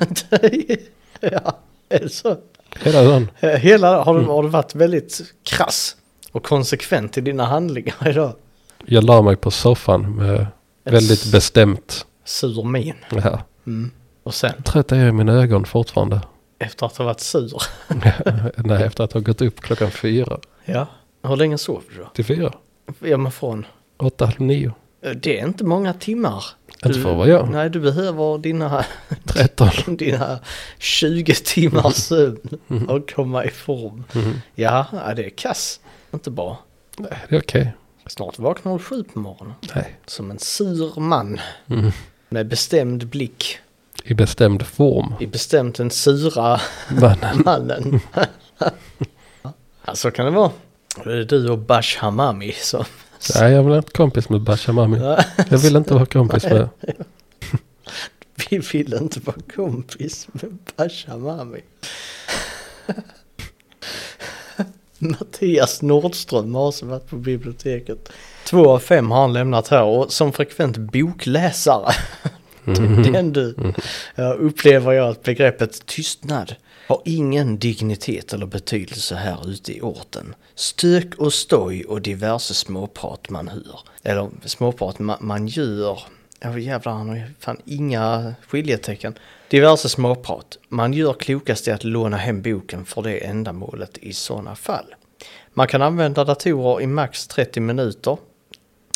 A: Mm.
B: <laughs> ja, är det så?
A: Hela dagen.
B: Eh, Hela, har, du,
A: Mm.
B: har du varit väldigt krass och konsekvent i dina handlingar idag?
A: Jag la mig på soffan med
B: Ett
A: Väldigt bestämt.
B: sur min.
A: Ja.
B: Mm. Och sen
A: Trött är jag i mina ögon fortfarande. <laughs>
B: efter att ha varit sur.
A: Nej, efter att ha gått upp klockan fyra
B: Ja. Hur länge sov du då?
A: till fyra.
B: Ja men från? eh,
A: Åtta, halv nio.
B: Det är inte många timmar.
A: Inte för vad jag.
B: Nej, du behöver dina, <laughs>
A: Tretton.
B: dina 20
A: Mm.
B: timmars sömn för att komma i form. Ja, ja, det är kass. Inte bra.
A: Nej, det är okej.
B: Snart vaknar du sju på morgonen.
A: Nej.
B: Som en sur man.
A: Mm.
B: Med bestämd blick.
A: I bestämd form.
B: I bestämt den sura
A: Mannen.
B: <laughs> mannen. ja, så kan det vara. Då är det du och Bash Hamami som...
A: Nej, jag vill inte kompis med Bashamami. Jag vill inte vara kompis med...
B: Vi vill inte vara kompis med Bashamami. <laughs> Mattias Nordström har också varit på biblioteket. Två av fem har han lämnat här och som frekvent bokläsare. Det är en du. Ja, upplever jag att begreppet tystnad har ingen dignitet eller betydelse här ute i orten. Stök och stoj och diverse småprat man hör. Eller småprat ma- man gör. Åh jävlar, han har ju fan inga skiljetecken. Diverse småprat. Man gör klokast i att låna hem boken för det ändamålet i sådana fall. Man kan använda datorer i max 30 minuter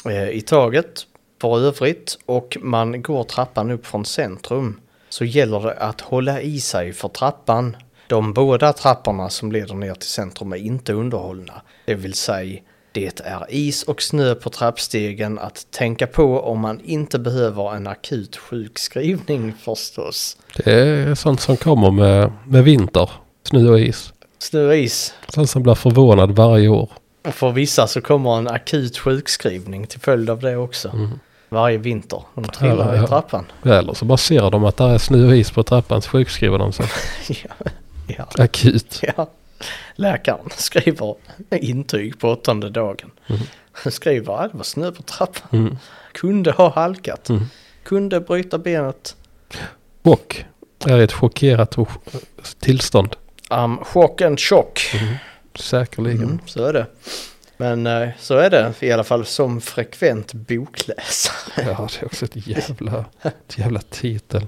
B: eh, i taget för övrigt och man går trappan upp från centrum så gäller det att hålla i sig för trappan. De båda trapporna som leder ner till centrum är inte underhållna, det vill säga det är is och snö på trappstegen att tänka på om man inte behöver en akut sjukskrivning <laughs> förstås.
A: Det är sånt som kommer med, med vinter. Snö och is.
B: Snö och is
A: Sånt som blir förvånad varje år.
B: Och för vissa så kommer en akut sjukskrivning till följd av det också. Varje vinter. De trillar
A: Mm. Ja, ja.
B: i trappan.
A: Eller så bara ser de att där är snö och is på trappan så sjukskriver de sig.
B: ja. Ja.
A: Akut.
B: ja. Läkaren skriver intyg på åttonde dagen. Mm-hmm. Skriver att det var snö på trappan.
A: Mm.
B: Kunde ha halkat. Kunde bryta benet.
A: Chock. Är i ett chockerat och- tillstånd.
B: Um, chock and chock.
A: Säkerligen.
B: Mm, så är det. Men eh, så är det i alla fall som frekvent bokläsare.
A: Ja, det är också ett jävla, ett jävla titel.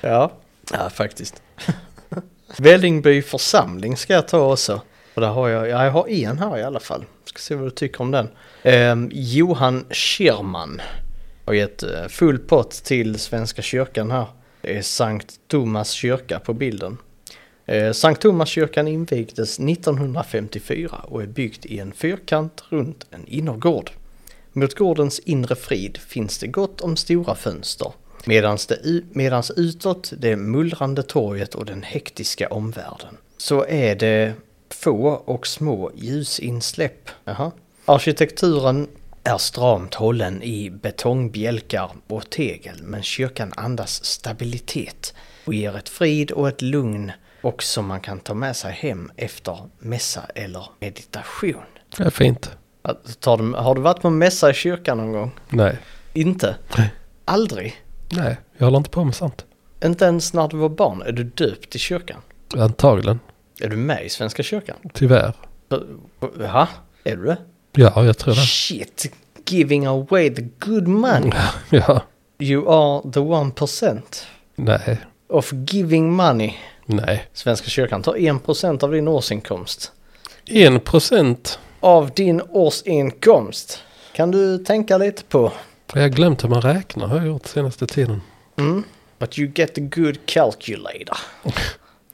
B: Ja, ja faktiskt. <laughs> Vällingby församling ska jag ta också. Och där har jag, ja, jag har en här i alla fall. Ska se vad du tycker om den. Ehm, Johan Schirman har gett eh, full pott till Svenska kyrkan här. Det är Sankt Thomas kyrka på bilden. Eh, Sankt Thomaskyrkan invigdes 1954 och är byggd i en fyrkant runt en innergård. Mot gårdens inre frid finns det gott om stora fönster. Medans, det, u- medans utåt det mullrande torget och den hektiska omvärlden. Så är det få och små ljusinsläpp. Jaha. Arkitekturen är stramt hållen i betongbjälkar och tegel men kyrkan andas stabilitet och ger ett frid och ett lugn och som man kan ta med sig hem efter mässa eller meditation.
A: Det är fint.
B: Att- Tar du, har du varit på mässa i kyrkan någon gång?
A: Nej.
B: Inte?
A: Nej.
B: Aldrig?
A: Nej, jag håller inte på med sånt.
B: Inte ens när du var barn? Är du döpt i kyrkan?
A: Antagligen.
B: Är du med i Svenska kyrkan?
A: Tyvärr.
B: Jaha, är du det?
A: Ja, jag tror
B: <laughs>
A: det. Mm.
B: Shit, giving away the good money.
A: Ja.
B: You are the one percent
A: Nej.
B: of giving money.
A: Nej.
B: Svenska kyrkan tar en procent av din årsinkomst.
A: En procent.
B: Av din årsinkomst. Kan du tänka lite på?
A: Jag har glömt hur man räknar har jag gjort senaste tiden.
B: But you get the good calculator.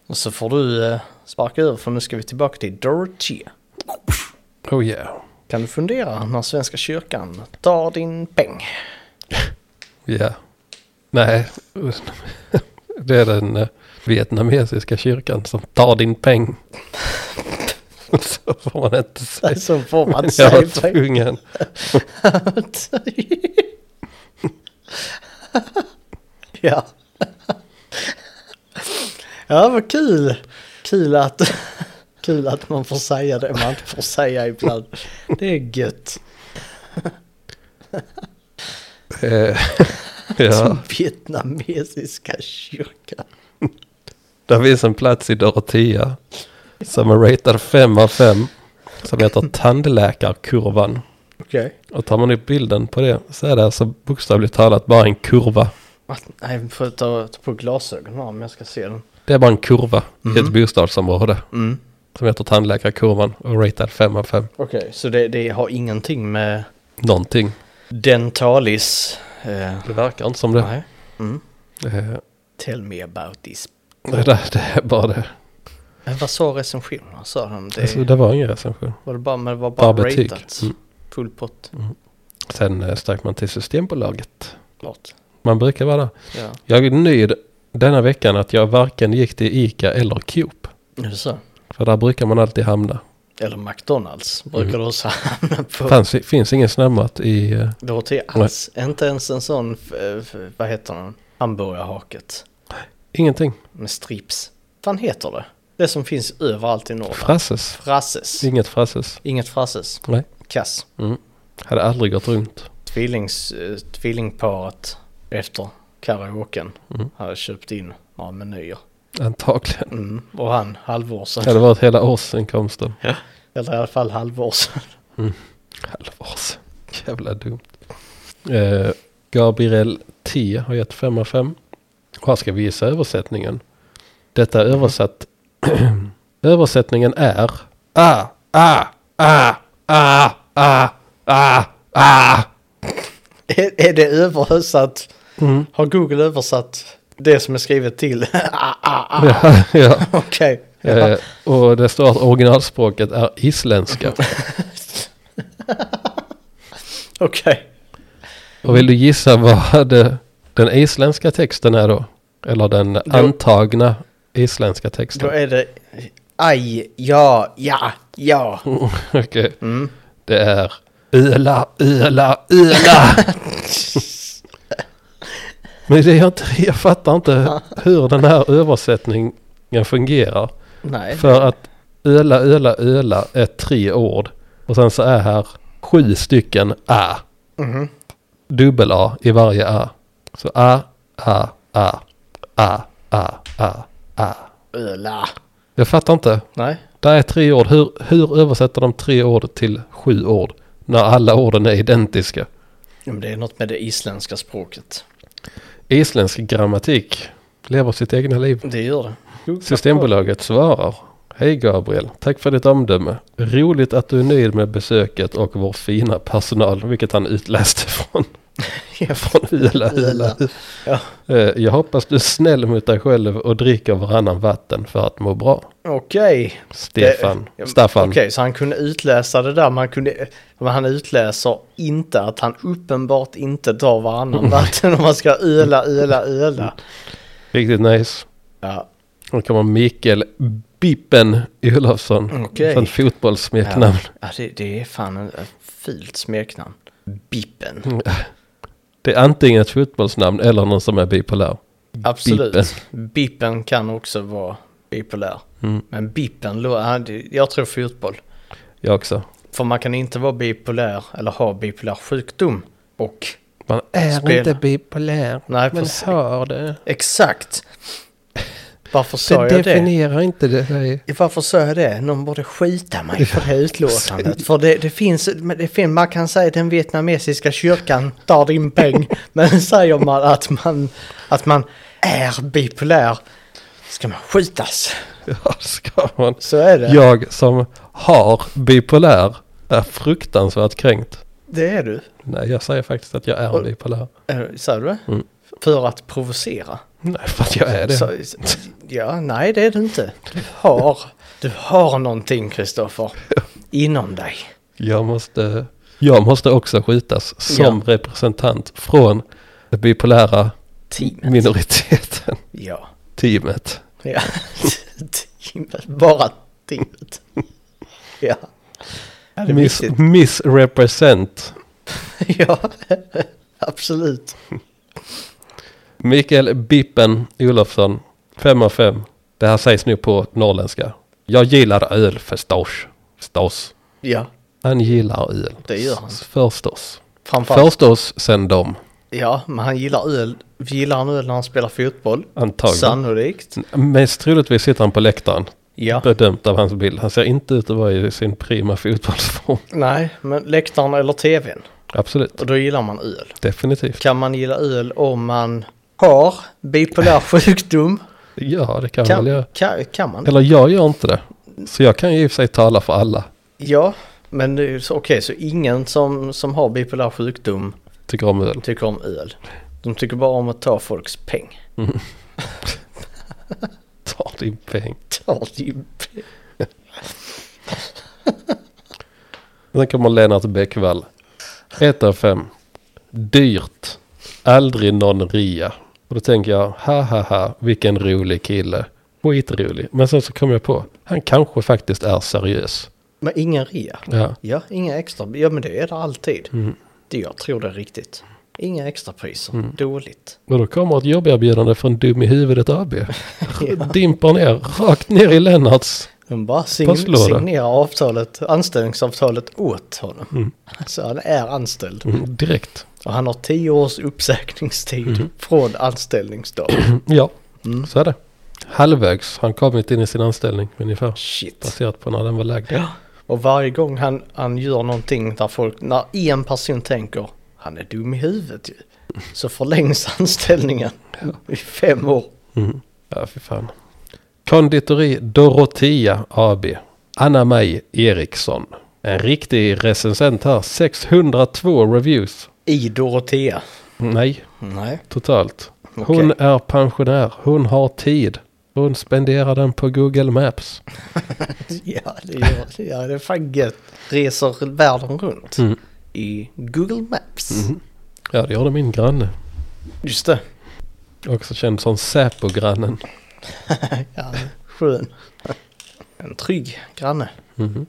B: Och så får du eh, sparka över för nu ska vi tillbaka till Dorothy.
A: Oh yeah.
B: Kan du fundera när Svenska kyrkan tar din peng?
A: Ja. Nej. <laughs> Det är den eh, vietnamesiska kyrkan som tar din peng. <laughs> Så får man inte säga.
B: Så får man
A: Jag
B: säga
A: var
B: <laughs> peng.
A: tvungen.
B: <laughs> ja. <laughs> ja, vad kul. Kul att, <laughs> kul att man får säga det man inte får säga ibland. Det är gött.
A: Eh, <laughs> Ja.
B: Den vietnamesiska kyrkan.
A: Där finns en plats i Dorotea som är ratad 5 av 5. Som heter tandläkarkurvan.
B: Okej.
A: Och tar man upp bilden på det så är det alltså bokstavligt talat bara en kurva.
B: Att- Nej, vi får ta, ta på glasögonen här om jag ska se den.
A: Det är bara en kurva i ett
B: Mhm.
A: bostadsområde
B: Mm.
A: som heter tandläkarkurvan och ratad 5 av 5.
B: Okej, så det, det har ingenting med
A: Någonting.
B: dentalis... Eh,
A: Det verkar inte som det.
B: Nej. Mm.
A: Eh,
B: Tell me about this.
A: Det, där, det är bara det.
B: Men vad sa recensionerna? Sa de det?
A: Alltså, det var ingen recension.
B: var det bara, men det var bara,
A: Bara betyg.
B: ratat?
A: Mm.
B: Full pott.
A: Sen eh, stack man till Systembolaget.
B: Klart.
A: Man brukar vara där.
B: Ja.
A: Jag är nöjd denna veckan att jag varken gick till Ica eller Coop.
B: Är det så?
A: För där brukar man alltid hamna.
B: Eller McDonalds brukar
A: Mm.
B: du också hamna <laughs> på.
A: Fanns, finns ingen snabbmat i... eh,
B: Det har till alls. Inte ens en sån, f- f- vad heter den? Hamburgarhaket.
A: Ingenting.
B: Med strips. Vad heter det? Det som finns överallt i Norrland.
A: Frasses.
B: Frasses.
A: Inget frasses.
B: Inget frasses.
A: Nej.
B: Kass.
A: Hade aldrig gått runt.
B: Tvillings, eh, tvillingparet efter karaoken
A: Mm.
B: hade köpt in några menyer.
A: Antagligen.
B: Mm. Och han halvår
A: Det
B: sedan.
A: hade varit hela årsinkomsten.
B: Eller i alla fall halvår sedan. <laughs>
A: Halvårs. Jävla dumt. Eh, Gabriel T har gett 5 av 5. Och här ska vi gissa översättningen. Detta är översatt. <clears throat> översättningen är. Ah, ah, ah, ah, ah, ah, ah.
B: Är, är det översatt?
A: Mm.
B: Har Google översatt det som är skrivet till? <laughs> ah, ah, ah.
A: Ja, <laughs> ja.
B: Okej.
A: Eh, och det står att originalspråket är isländska.
B: Okej.
A: Och vill du gissa vad det, den isländska texten är då? Eller den antagna isländska
B: Då
A: texten?
B: är det... Aj, ja, ja, ja.
A: <laughs> Okej. Det är öla, öla, öla. Men det är jag, inte, jag fattar inte hur den här översättningen fungerar.
B: Nej.
A: För att öla, öla, öla är tre ord. Och sen så är här sju stycken a.
B: Mhm.
A: Dubbel-a i varje a. Så a, a, a, a, a, a, a.
B: Öla.
A: Jag fattar inte.
B: Nej.
A: Det är tre ord. Hur, hur översätter de tre ord till sju ord? När alla orden är identiska.
B: Ja, Men det är något med det isländska språket.
A: Isländsk grammatik lever sitt egna liv.
B: Det gör det.
A: Systembolaget svarar. Hej Gabriel, tack för ditt omdöme. Roligt att du är nöjd med besöket och vår fina personal, vilket han utläste
B: <laughs>
A: från, från Ila. Ila.
B: Ja.
A: Eh, Jag hoppas du är snäll mot dig själv och dricker varannan vatten för att må bra.
B: Okej.
A: Stefan,
B: Det-
A: Staffan.
B: Okej, så han kunde utläsa det där. Man kunde, men han utläser inte att han uppenbart inte drar varannan vatten om man ska öla, öla, öla.
A: Riktigt nice.
B: Ja,
A: Nu kommer Mikael Bippen Olofsson.
B: Okej.
A: Sånt fotbollssmeknamn.
B: ja det, det är fan en- ett fult smeknamn. Bippen.
A: Mm, Det är antingen ett fotbollsnamn eller någon som är bipolär.
B: Absolut. Bippen. kan också vara bipolär.
A: Mm.
B: Men Bippen, lå- ja, det- jag tror fotboll.
A: Jag också.
B: För man kan inte vara bipolär eller ha bipolär sjukdom. Och
A: Man är
B: Spela.
A: inte bipolär.
B: Nej,
A: men
B: precis.
A: har det.
B: exakt. Varför
A: Det
B: sa jag det?
A: definierar inte det. Nej. <laughs>
B: Varför sa jag det? Någon borde skita mig för det här utlåtandet. För det, det, finns, men det finns, man kan säga den vietnamesiska kyrkan tar
A: <laughs>
B: din peng. Men säger man att man, att man är bipolär ska man skjutas.
A: Ja, ska man.
B: Så är det.
A: Jag som har bipolär är fruktansvärt kränkt.
B: Det är du.
A: Nej, jag säger faktiskt att jag är bipolär.
B: Eh, Sa du det?
A: Mm.
B: För att provocera?
A: Nej, för att jag är det.
B: Så, så- ja, nej det är det inte. Du har, du har någonting Kristoffer. Inom dig.
A: Jag måste, jag måste också skjutas som representant från det bipolära
B: Teamet.
A: minoriteten.
B: Ja.
A: Teamet.
B: ja. <laughs> teamet. Bara teamet. Ja. <laughs> Ja, det är
A: Miss,
B: viktigt.
A: misrepresent.
B: ja. Absolut.
A: Mikael Bippen Olofsson, 5 av 5. Det här sägs nu på norrländska. Jag gillar öl förstås. Förstås.
B: Ja.
A: Han gillar öl.
B: Det gör han.
A: Förstås.
B: Framförallt.
A: Förstås sen dom.
B: Ja, men han gillar öl. Gillar han öl när han spelar fotboll?
A: Antagligen.
B: Sannolikt.
A: Mest troligtvis sitter han på läktaren.
B: Ja,
A: bedömt av hans bild. Han ser inte ut att vara i sin prima fotbollsform.
B: nej, men läktaren eller tvn.
A: Absolut,
B: Och då gillar man öl.
A: definitivt.
B: Kan man gilla öl om man har bipolär sjukdom?
A: Ja, det kan, man väl
B: Kan,
A: göra.
B: kan, kan man?
A: Eller jag gör inte det. Så jag kan ju i och för sig tala för alla.
B: Ja, men det är ju så- okej, så ingen som, som har bipolär sjukdom
A: Tycker om öl. <laughs>
B: tycker om öl. De tycker bara om att ta folks peng.
A: Ta din peng.
B: Ta din peng.
A: Sen kommer Lennart Bäckvall. 1 av 5. Dyrt. Aldrig någon ria. Och då tänker jag, ha ha ha, vilken rolig kille. Skitrolig. Men sen så kom jag på, han kanske faktiskt är seriös.
B: Men ingen rea.
A: Ja,
B: Ja, inga extra. Ja, men det är det alltid. Det jag tror det är riktigt. Inga extrapriser. Dåligt.
A: och då kommer ett jobberbjudande från Dum i huvudet AB. <laughs> Dimper ner, rakt ner i Lennarts.
B: De bara sign-
A: Postlåda.
B: signerar avtalet, anställningsavtalet åt honom. Så han är anställd.
A: Mm, direkt.
B: Och han har tio års uppsägningstid från anställningsdag.
A: Mm, Ja, så är det. Halvvägs har han kommit in i sin anställning ungefär.
B: Shit.
A: Baserat på när den var lagd.
B: Ja. Och varje gång han, han gör någonting där folk, när en person tänker han är dum i huvudet ju. Så förlängs anställningen i fem år.
A: Mm. Ja, fy fan. Konditori Dorotea AB. Anna-Maj Eriksson. En riktig recensent här. 602 reviews.
B: I Dorotea.
A: Nej,
B: Nej.
A: totalt. Hon
B: Okej. <laughs>
A: är pensionär. Hon har tid. Hon spenderar den på Google Maps.
B: Ja, det, gör, ja, det är fan gött. Reser världen runt i Google Maps.
A: Ja, det gjorde min granne.
B: Just det.
A: Också känd som Säpo-grannen.
B: Ja, skön. En trygg granne.
A: Mhm.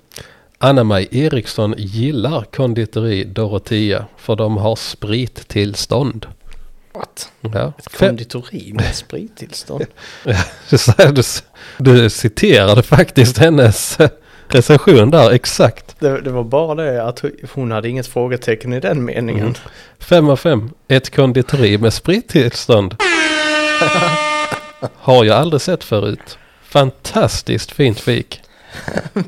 A: Anna-Maj Eriksson gillar konditori Dorotea för de har sprittillstånd.
B: What?
A: Ja. Fem-
B: Konditori med sprittillstånd.
A: <laughs> Du, sa- du, du citerade faktiskt hennes eh, recension där exakt.
B: <laughs> Det, det var bara det att hon hade inget frågetecken i den meningen.
A: fem av fem ett konditori med sprittillstånd. <laughs> Har jag aldrig sett förut. Fantastiskt fint fik.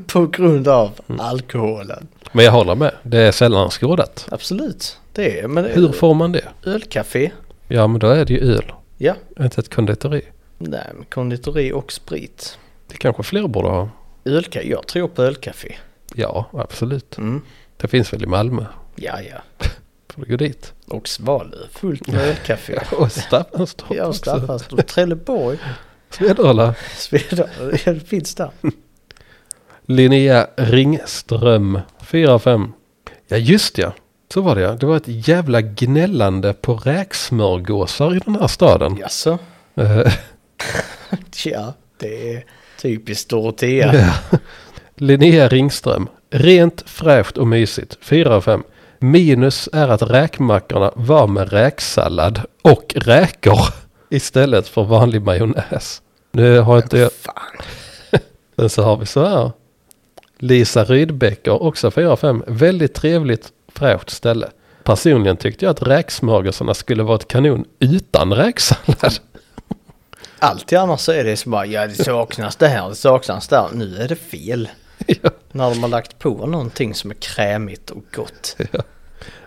B: På grund av alkoholen.
A: Men jag håller med, det är sällan skådat.
B: Absolut. Det är, men det är
A: Hur får man det?
B: ölcafé.
A: Ja men då är det ju öl,
B: Ja.
A: inte ett konditori.
B: Nej, men konditori och sprit.
A: Det kanske fler borde ha.
B: Ölka, jag tror på ölcafé.
A: Ja, absolut.
B: Mm.
A: Det finns väl i Malmö.
B: Ja, ja.
A: Får du gå dit?
B: Och Svalöv, fullt med ölcafé.
A: <laughs> Och Staffanstorp
B: Ja, och
A: också.
B: Staffanstorp, <laughs> Trelleborg,
A: Svedala.
B: Svedala, det finns där.
A: Linnea Ringström 4-5. Ja just ja, så var det ja. Det var ett jävla gnällande på räksmörgåsar i den här staden.
B: Jaså?
A: Eh,
B: Tja, det är
A: <laughs>
B: typiskt Dorotea.
A: Linnea Ringström. Rent, fräscht och mysigt. 4-5. Minus är att räkmackorna var med räksallad och räkor <laughs> istället för vanlig majonnäs. Nu har inte jag...
B: Fan.
A: Sen så har vi så här. Lisa Rydbecker, också 4-5. Väldigt trevligt, fräscht ställe. Personligen tyckte jag att räksmörgåsarna skulle vara ett kanon utan räksallad.
B: Alltid annars så är det så bara, ja det saknas det här, det saknas där. Nu är det <laughs> fel.
A: Ja.
B: När de har lagt på någonting som är krämigt och gott.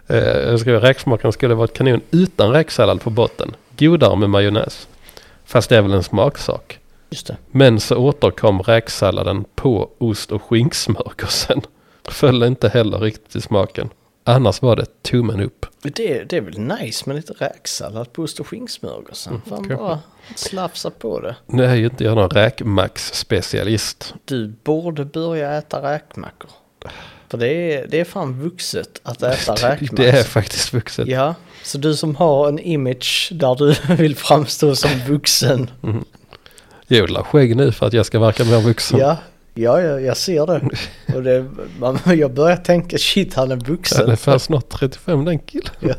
A: Eh, jag skrev räksmakarna skulle vara ett kanon utan räksallad på botten. Godare med majonnäs. Fast det är väl en smaksak.
B: Just det.
A: Men så återkom räksalladen på ost och skinksmörgåsen. <laughs> Föll inte heller riktigt i smaken. Annars var det tummen upp.
B: Det, det är väl nice med lite räksallad på ost och skinksmörgåsen. Fan
A: kanske.
B: bara slafsa på det.
A: Nu är ju inte jag någon räkmax-specialist.
B: Du borde börja äta räkmackor. För det är, det är fan vuxet att äta
A: <laughs>
B: räkmackor.
A: Det är faktiskt vuxet.
B: Ja, så du som har en image där du <laughs> vill framstå som vuxen.
A: Mm. Jag odlar skägg nu för att jag ska verka mer vuxen.
B: Ja, ja, ja jag ser det. Och det man, <laughs> jag börjar tänka shit han är
A: Han är
B: vuxen.
A: fan snart 35 den killen. <laughs>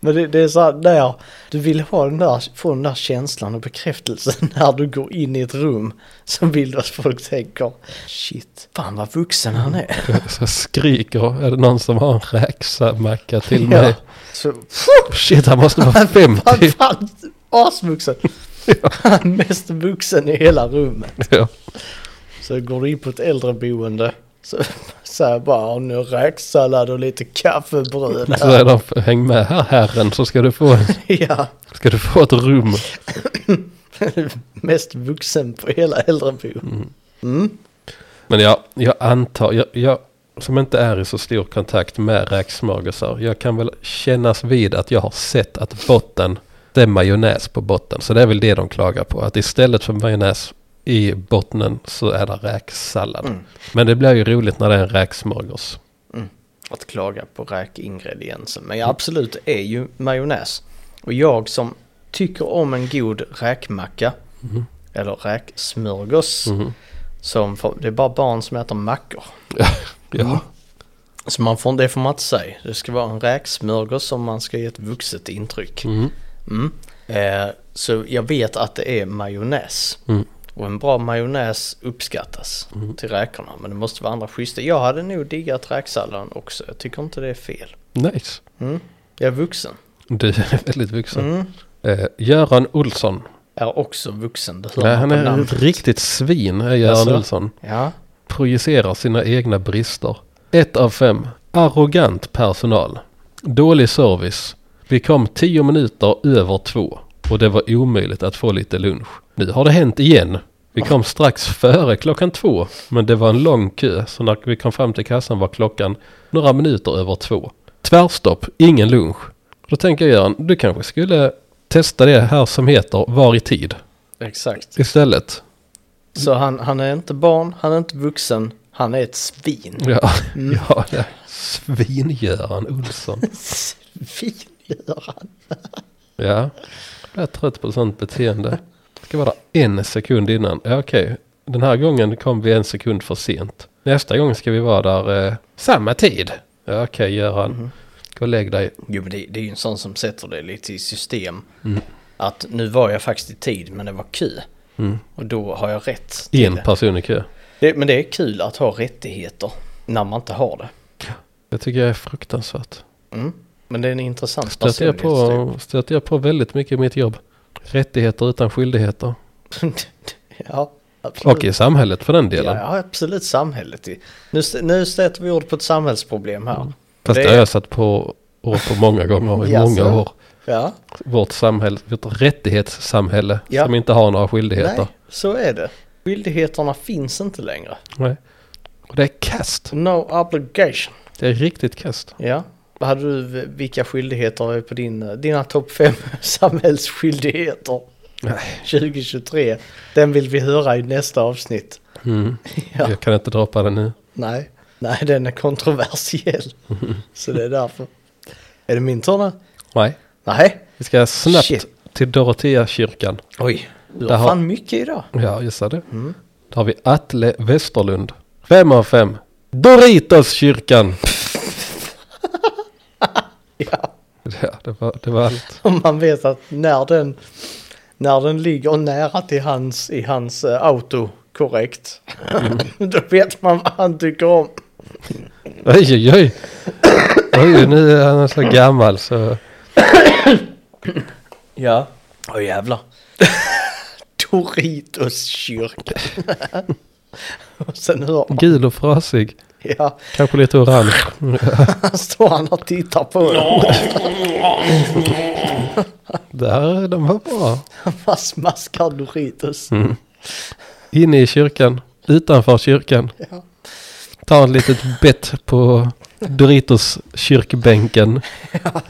B: Men det, det är så här, där, du vill ha den där, få den där känslan och bekräftelsen <laughs> när du går in i ett rum. Som vill att folk tänker shit, fan vad vuxen han är.
A: Så skriker, är det någon som har en räksamacka till
B: Ja.
A: mig?
B: Så <laughs>
A: Shit, han måste vara
B: han
A: 50.
B: fan asvuxen. Han är mest vuxen i hela rummet.
A: Ja.
B: Så går du in på ett äldreboende. Så, så här bara, "Ja, nu räksallad och lite kaffebröd.
A: Så är de, häng med här herren så ska du få,
B: Ja,
A: ska du få ett rum.
B: mest vuxen på hela äldreboendet. Mm.
A: Men jag, jag antar, jag, jag som inte är i så stor kontakt med räksmörgåsar, jag kan väl kännas vid att jag har sett att botten, det är majonnäs på botten. Så det är väl det de klagar på, att istället för majonnäs i bottnen så är det räksallad.
B: Mm.
A: Men det blir ju roligt när det är en räksmörgås.
B: Att klaga på räkingrediensen. Men ja, absolut, det är ju majonnäs. Och jag som tycker om en god räkmacka.
A: Mhm.
B: Eller räksmörgås.
A: Mhm.
B: Som får, det är bara barn som äter mackor.
A: Ja.
B: Så man får, det får man inte säga. Det ska vara en räksmörgås som man ska ge ett vuxet intryck.
A: Mm.
B: Mm. Eh, så jag vet att det är majonnäs.
A: Mm.
B: Och en bra majonnäs uppskattas till räkorna. Men det måste vara andra schyssta. Jag hade nog diggat räksalladen också. Jag tycker inte det är fel.
A: Nice.
B: Mm. Jag är vuxen.
A: Du är väldigt vuxen.
B: Mm.
A: Eh, Göran Olsson.
B: Är också vuxen. Det hör
A: Nej,
B: man
A: han
B: på
A: är
B: namnet.
A: ett riktigt svin, är Göran
B: Alltså?
A: Olsson.
B: Ja.
A: projicerar sina egna brister. Ett av fem. Arrogant personal. Dålig service. Vi kom tio minuter över två och det var omöjligt att få lite lunch. Nu har det hänt igen. Vi kom strax före klockan två, men det var en lång kö, så när vi kom fram till kassan var klockan några minuter över två. Tvärstopp, ingen lunch. Då tänker jag Göran, du kanske skulle testa det här som heter Var i tid
B: Exakt.
A: istället.
B: Så han, han är inte barn, han är inte vuxen, han är ett svin.
A: Ja,
B: Mm.
A: ja det är svin-Göran Olsson.
B: <laughs> Svin gör han.
A: Ja, jag är trött på sånt beteende. Det ska vara en sekund innan. Ja, okej, den här gången kom vi en sekund för sent. Nästa gång ska vi vara där eh, samma tid. Ja, okej Göran.
B: Mm-hmm.
A: Gå och lägg dig.
B: Jo men det, det är ju en sån som sätter det lite i system.
A: Mm.
B: Att nu var jag faktiskt i tid men det var kö.
A: Mm.
B: Och då har jag rätt. till
A: En
B: det.
A: person i kö.
B: det. Men det är kul att ha rättigheter när man inte har det.
A: Det tycker jag är fruktansvärt.
B: Mm. Men det är en intressant
A: Stöter jag,
B: personlighetstyp.
A: på, stöter jag på väldigt mycket i mitt jobb. Rättigheter utan skyldigheter.
B: <laughs> ja, absolut.
A: Och i samhället för den delen.
B: Mm. Ja, absolut samhället. Nu, st- nu stöter vi ord på ett samhällsproblem här.
A: Mm. Fast
B: Det
A: det
B: är-
A: har jag satt på ord på många gånger i
B: Jaså?
A: många år.
B: Ja,
A: Vårt samhälle, vårt rättighetssamhälle
B: Ja.
A: som inte har några skyldigheter.
B: nej, så är det. Skyldigheterna finns inte längre.
A: Nej. Och det är kast.
B: No obligation.
A: Det är riktigt kast.
B: Ja. Vad Hade du, vilka skyldigheter är på din, dina topp fem <laughs> samhällsskyldigheter
A: Nej.
B: 2023? Den vill vi höra i nästa avsnitt. <laughs>
A: Mm.
B: Ja.
A: Jag kan inte droppa den nu.
B: Nej, nej den är <laughs> kontroversiell. Så det är därför. Är det min tur nu?
A: Nej.
B: Nej.
A: Vi ska snabbt
B: Shit.
A: till Doroteakyrkan.
B: Oj. Du
A: Där
B: har
A: har-
B: fan mycket idag. <laughs>
A: Ja, gissa det.
B: Mm.
A: Då har vi Atle Westerlund. Fem av fem. Doritoskyrkan.
B: <laughs> Ja.
A: Ja, det var, det var allt.
B: Om man vet att när den, när den ligger nära till hans, i hans eh, auto korrekt, <laughs> då vet man vad han tycker om.
A: Oj, oj, oj. Oj, nu är han så gammal så...
B: Ja. Åh <laughs> jävlar. Doritos kyrka. och <laughs> sen hör man,
A: Gul och frasig.
B: ja,
A: Kanske lite orange.
B: han står han och tittar på den.
A: Där, de var bra.
B: Han smaskar Doritos.
A: Inne i kyrkan. Utanför kyrkan.
B: Ja.
A: Ta ett litet bett på Doritos kyrkbänken.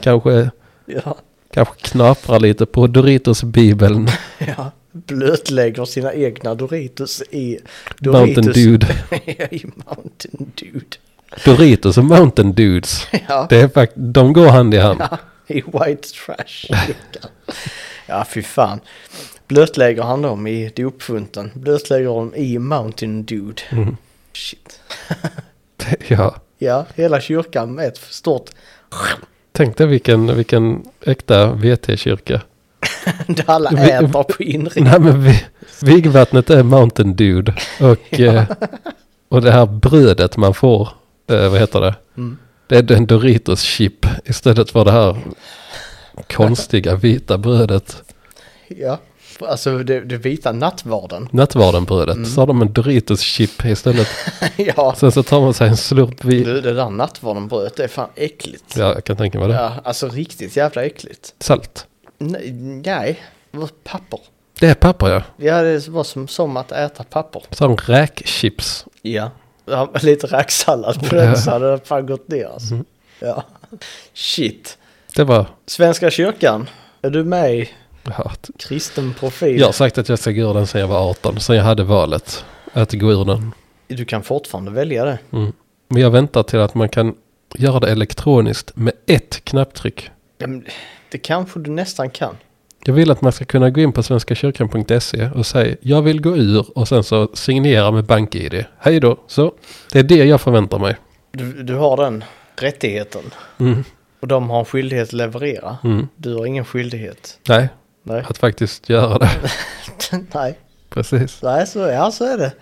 A: Kanske,
B: Ja,
A: kanske knapra lite på Doritos bibeln.
B: ja. Blötlägger sina egna Doritos i
A: Mountain Dude.
B: <laughs> I Mountain Dude.
A: Doritos och Mountain Dudes.
B: Ja.
A: Det är fakt- de går hand i hand.
B: I white <laughs> trash. ja, fy fan. Blötlägger han dem i dopfunten? Blötlägger dem i Mountain Dude? Shit.
A: Det- Ja.
B: Ja, hela kyrkan med ett stort...
A: Tänk dig vilken, vilken äkta VT-kyrka.
B: Där alla
A: Vi-
B: äter på
A: <laughs>
B: inredning.
A: Nej men vi, vigvattnet är Mountain Dude. Och,
B: <laughs>
A: eh, och det här brödet man får, eh, vad heter det?
B: Mm.
A: Det är en Doritos chip istället för det här konstiga vita brödet.
B: Ja. Alltså det, det vita nattvarden. <laughs>
A: Nattvardenbrödet.
B: Mm.
A: Så har de en Doritos chip istället.
B: ja,
A: Sen så tar man sig en slurp vin.
B: du det där nattvardenbrödet det är fan äckligt.
A: Ja, jag kan tänka mig det.
B: Ja, alltså riktigt jävla äckligt.
A: Salt.
B: Nej, nej, det var papper.
A: Det är papper ja.
B: Ja, det var som, som att äta papper.
A: Som räkchips.
B: Ja. ja <laughs> lite räksallad på den så hade det fan gått ner alltså.
A: Mm.
B: Ja. Shit.
A: Det var...
B: Svenska kyrkan, är du med i
A: Ja, t-
B: kristen profil?
A: jag har sagt att jag ska gå ur den sen jag var 18. Sen jag hade valet att gå ur den.
B: Du kan fortfarande välja det.
A: Men jag väntar till att man kan göra det elektroniskt med ett knapptryck.
B: Ja, men Det kanske du nästan kan.
A: Jag vill att man ska kunna gå in på svenskakyrkan.se och säga jag vill gå ur och sen så signera med BankID. Hej då. Så det är det jag förväntar mig.
B: Du, du har den rättigheten.
A: Mm.
B: Och de har en skyldighet att leverera.
A: Mm.
B: Du har ingen skyldighet.
A: Nej,
B: Nej. <laughs>
A: att faktiskt göra det. <laughs>
B: Nej.
A: Precis.
B: Nej, så, ja, så är det.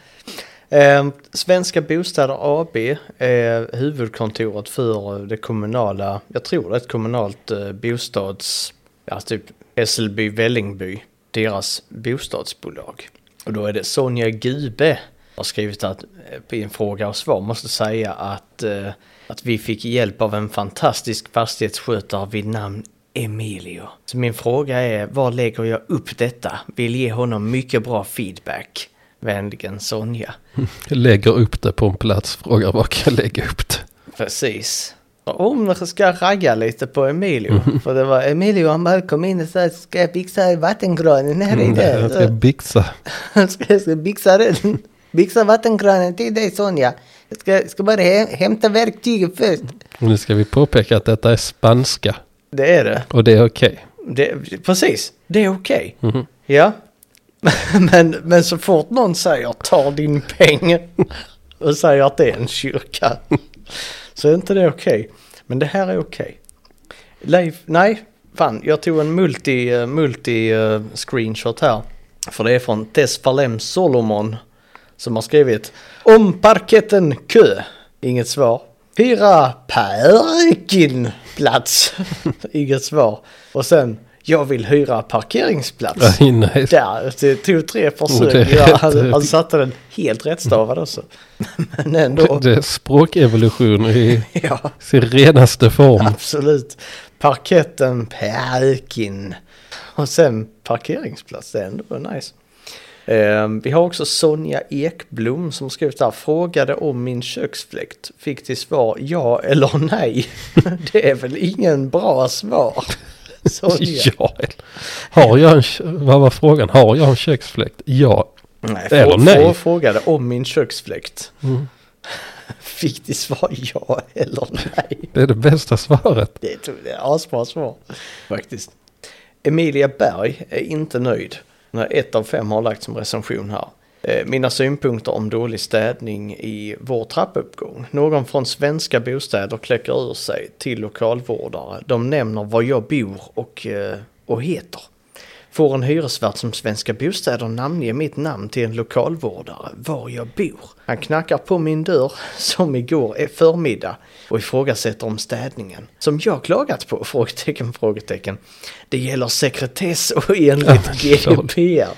B: Eh, Svenska Bostäder AB är eh, huvudkontoret för det kommunala, jag tror det är ett kommunalt eh, bostads, ja typ Hässelby, Vällingby, deras bostadsbolag. Och då är det Sonja Gube har skrivit att eh, i en fråga och svar måste säga att, eh, att vi fick hjälp av en fantastisk fastighetsskötare vid namn Emilio. Så min fråga är, var lägger jag upp detta? Vill ge honom mycket bra feedback. Vänligen Sonja.
A: Jag lägger upp det på en plats, frågar var kan jag lägga upp det?
B: Precis. Mm. Om jag ska ragga lite på Emilio. För det var Emilio han bara kom in och sa ska jag fixa vattenkranen här i
A: Mm, Jag ska
B: det.
A: bixa.
B: Ska jag ska fixa den. Fixa vattenkranen till dig Sonja. Jag ska, ska bara hä- hämta verktygen först.
A: Nu ska vi påpeka att detta är spanska
B: Det är det.
A: och det är okej.
B: <laughs> det precis, det är okej. Ja. <laughs> Men, men så fort någon säger ta din peng <laughs> och säger att det är en kyrka. <laughs> Så är inte det okej. Men det här är okej. Leif, nej, fan, jag tog en multi, eh, multi eh, screenshot här. För det är från Tess Falem Solomon som har skrivit Om parketten kö. Inget svar. Fyra parkin plats. <laughs> Inget svar. Och sen jag vill
A: <laughs>
B: hyra parkeringsplats.
A: Okay. Nej,
B: Där, det tog tre
A: Oh, det
B: försök.
A: är
B: Ja,
A: rätt.
B: han, han satte den helt rättstavad också. Men ändå.
A: <laughs> det är språkevolution i
B: Ja.
A: sin renaste form.
B: Absolut. Parketten, parkin. Och sen parkeringsplats, det är ändå nice. Ehm, vi har också Sonja Ekblom som skrev där, frågade om min köksfläkt. Fick till svar ja eller nej. <laughs> det är väl ingen
A: <laughs>
B: bra svar. Sonja.
A: Ja. Har jag en, kö- vad var frågan? Har jag en köksfläkt? Ja.
B: Nej,
A: Eller
B: frå-
A: nej.
B: frå- frågade om min köksfläkt. Fick till svar ja eller nej.
A: Det är det bästa svaret.
B: Det tror jag är asbra svar. Faktiskt. Emilia Berg är inte nöjd när ett av fem har lagt som recension här. Eh, Mina synpunkter om dålig städning i vår trappuppgång. Någon från svenska bostäder kläcker ur sig till lokalvårdare. De nämner var jag bor och, eh, och heter. Får en hyresvärd som Svenska Bostäder namnge mitt namn till en lokalvårdare var jag bor. Han knackar på min dörr som igår är förmiddag och ifrågasätter om städningen. Som jag klagat på? Frågetecken, frågetecken. Det gäller sekretess och enligt
A: Ja, men lol.
B: GDPR.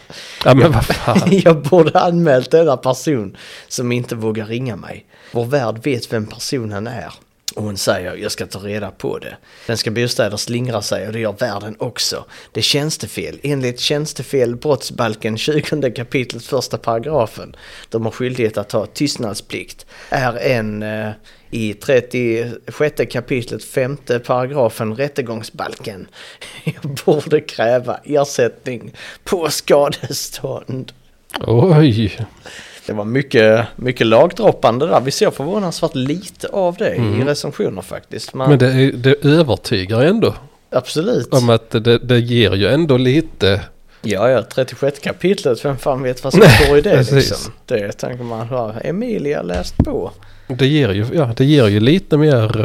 A: Ja men vad fan.
B: <laughs> Jag borde anmält denna person som inte vågar ringa mig. Vår värd vet vem personen är. Och hon säger, jag ska ta reda på det. Den ska bostäder slingra sig och det gör värden också. Det är tjänstefel. Enligt tjänstefel brottsbalken 20 kapitlet första paragrafen. De har skyldighet att ha tystnadsplikt. Är en eh, i 36 kapitlet femte paragrafen rättegångsbalken. <laughs> Jag borde kräva ersättning på skadestånd.
A: Oj.
B: Det var mycket, mycket lagdroppande där. Vi ser förvånansvärt lite av det i recensioner faktiskt. Men,
A: Mm. Men det, är- det övertygar ändå.
B: absolut.
A: Om att det, det ger ju ändå lite.
B: Ja, ja, 36 kapitlet, vem fan vet vad som
A: Nej,
B: står i det
A: precis.
B: liksom. Det tänker man, har Emilia läst på?
A: Det ger ju, ja, det ger ju lite mer.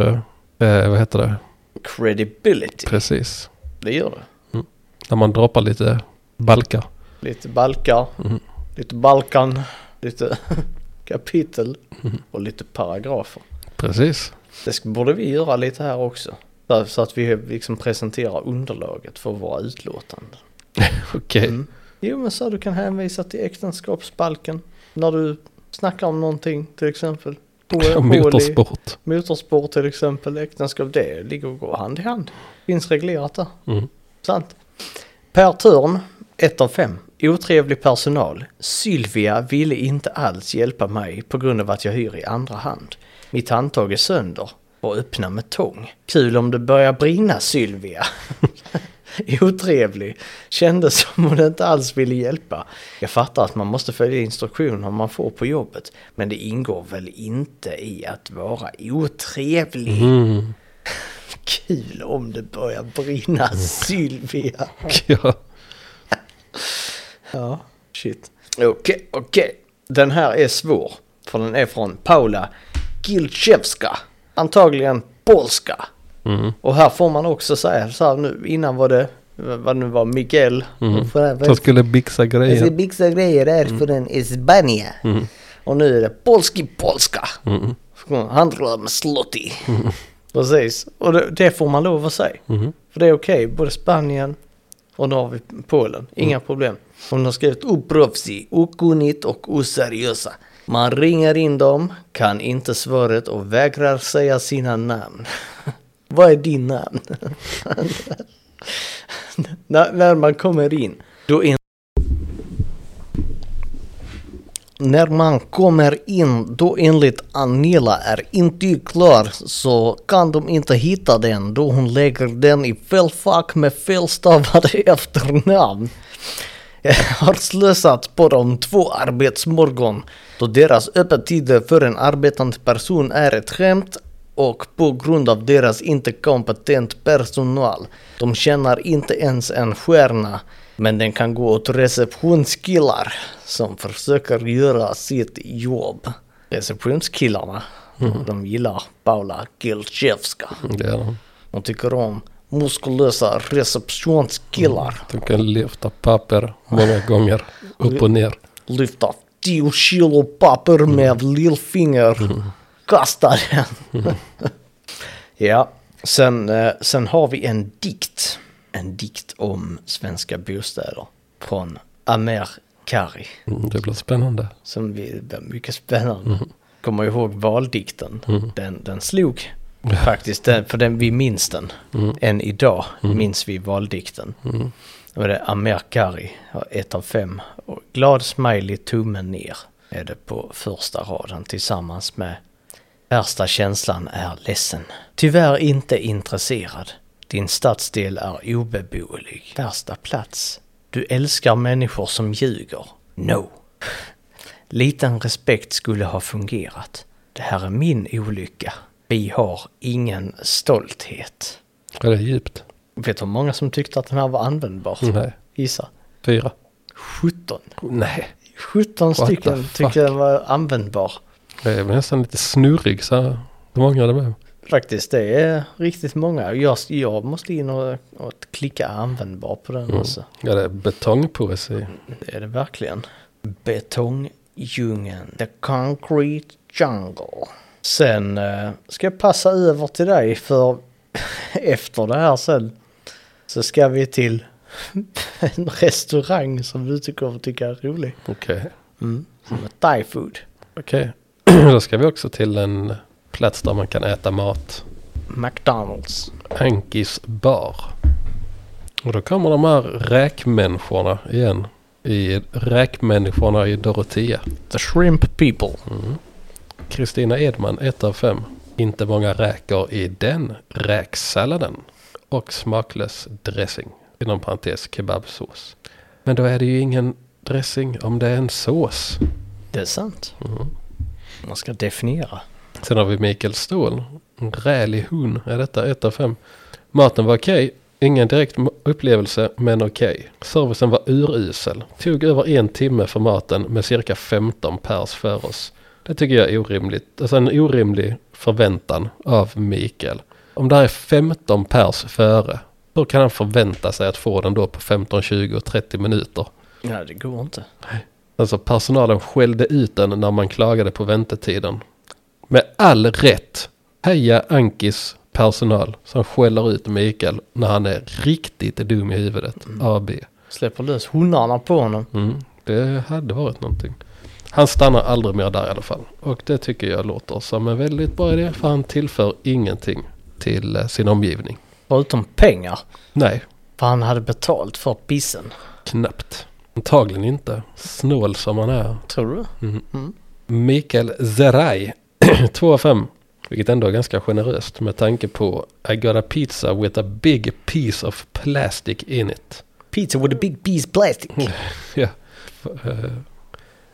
A: Eh, vad heter det?
B: Credibility,
A: Precis.
B: det gör det.
A: När man droppar lite balkar.
B: Lite balkar,
A: Mm.
B: lite Balkan, lite <laughs> kapitel
A: Mm.
B: och lite paragrafer.
A: Precis.
B: Det sk- borde vi göra lite här också. Så- Så att vi liksom presenterar underlaget för våra utlåtanden.
A: Okej.
B: Mm. Jo men så här, du kan hänvisa till äktenskapsbalken. När du snackar om någonting till exempel. Hål-
A: Och
B: hål i-
A: <laughs> motorsport.
B: Motorsport till exempel, äktenskap, det ligger och går hand i hand. Finns reglerat där.
A: Mm.
B: Sant. Per Törn, 1 av 5. Otrevlig personal. Sylvia ville inte alls hjälpa mig på grund av att jag hyr i andra hand. Mitt handtag är sönder och öppna med tång. Kul om det börjar brinna Sylvia. <laughs> Otrevlig. Kändes som hon inte alls ville hjälpa. Jag fattar att man måste följa instruktioner man får på jobbet. Men det ingår väl inte i att vara otrevlig.
A: Mm.
B: Kul om det börjar brinna <laughs> Sylvia.
A: Ja.
B: Ja, shit. Okej, okej. Den här är svår. För den är från Paula Gilchevska. Antagligen polska.
A: Mm.
B: Och här får man också säga så här nu. Innan var det, vad det nu var, Miguel.
A: Mm.
B: För det- Alltså,
A: Så skulle bixa
B: Jag ska
A: grejer. Mm.
B: mixa grejer där för den är Spanien. Och nu är det polski polska.
A: Mm.
B: Handlar med slotti. Precis, och det, det får man lov att säga.
A: Mm.
B: För det är okej, både Spanien och nu har vi Polen.
A: Mm.
B: Inga problem. Hon har skrivit oproffsig, okunnigt och oseriösa. Man ringer in dem, kan inte svaret och vägrar säga sina namn. <laughs> Vad är din namn? <laughs> när, när man kommer in, då är När man kommer in då enligt Anila är intyg klar så kan de inte hitta den då hon lägger den i fel fack med felstavade <laughs> efternamn. Jag har slösat på dem två arbetsmorgon då deras öppettider för en arbetande person är ett skämt och på grund av deras inte kompetent personal. De tjänar inte ens en stjärna, men den kan gå åt receptionskillar som försöker göra sitt jobb. Receptionskillarna, de gillar Paula Gilchevska.
A: Det är de.
B: De tycker om muskulösa receptionskillar.
A: De kan lyfta papper många gånger. Upp och ner.
B: lyfta 10 kilo papper med lillfinger. Kasta den. <laughs> ja, sen, eh, sen har vi en dikt. En dikt om svenska bostäder från Amer Kari.
A: Mm, Det blir spännande.
B: Som vi- var mycket spännande. Kommer ihåg valdikten. Den, den slog faktiskt, den, för den, vi minns den. Än idag minns vi valdikten. Och det är Amer Kari, ja, ett av fem. Och glad smiley, tummen ner är det på första raden tillsammans med Värsta känslan är ledsen. Tyvärr inte intresserad. Din stadsdel är obeboelig. Värsta plats. Du älskar människor som ljuger. No. Liten respekt skulle ha fungerat. Det här är min olycka. Vi har ingen stolthet.
A: Ja, Det är djupt.
B: Vet du hur många som tyckte att den här var användbar?
A: Nej.
B: Gissa.
A: Fyra.
B: 17.
A: Nej.
B: 17
A: the
B: stycken
A: fuck?
B: tyckte den var användbar.
A: Jag är väl nästan lite snurrig så här. Hur många är det med?
B: Faktiskt, det är riktigt många. Jag, jag måste in och, och klicka användbar på den
A: Mm.
B: alltså.
A: Ja, det är betongpoesi.
B: Det är det verkligen. Betongdjungeln. The concrete jungle. Sen eh, ska jag passa över till dig för <laughs> efter det här sen så ska vi till <laughs> en restaurang som du tycker kommer tycka är rolig. Mm.
A: Okej.
B: Som är thai food.
A: Okej. <clears throat> Då ska vi också till en plats där man kan äta mat.
B: McDonalds.
A: Hankis bar. Och då kommer de här räkmänniskorna igen. I räkmänniskorna i Dorotea.
B: The shrimp people.
A: Kristina Edman, 1 av 5. Inte många räkor i den räksalladen. Och smaklös dressing. Inom parentes kebabsås. Men då är det ju ingen dressing om det är en sås.
B: Det är sant. Man ska definiera.
A: Sen har vi Mikael Ståhl. En rälig hon är detta, 1 av 5. Maten var okej. Ingen direkt m- upplevelse, men okej. Servicen var urusel. Tog över en timme för maten med cirka 15 pers för oss. Det tycker jag är orimligt. Alltså en orimlig förväntan av Mikael. Om det här är 15 pers före, hur kan han förvänta sig att få den då på 15, 20, 30 minuter?
B: Nej, det går inte.
A: Alltså personalen skällde ut den när man klagade på väntetiden. Med all rätt. Heja Ankis personal som skäller ut Mikael när han är riktigt dum i huvudet. AB.
B: Släpper lös hundarna på honom.
A: Mm, det hade varit någonting. Han stannar aldrig mer där i alla fall. Och det tycker jag låter som en väldigt bra idé. För han tillför ingenting till eh, sin omgivning.
B: Förutom pengar.
A: Nej,
B: För han hade betalt för pissen.
A: knappt. Antagligen inte. Snål som han är.
B: Tror du?
A: Mikael <clears throat> Zerai, 2 av 5. Vilket ändå är ganska generöst med tanke på I got a pizza with a big piece of plastic in it.
B: Pizza with a big piece plastic.
A: Ja.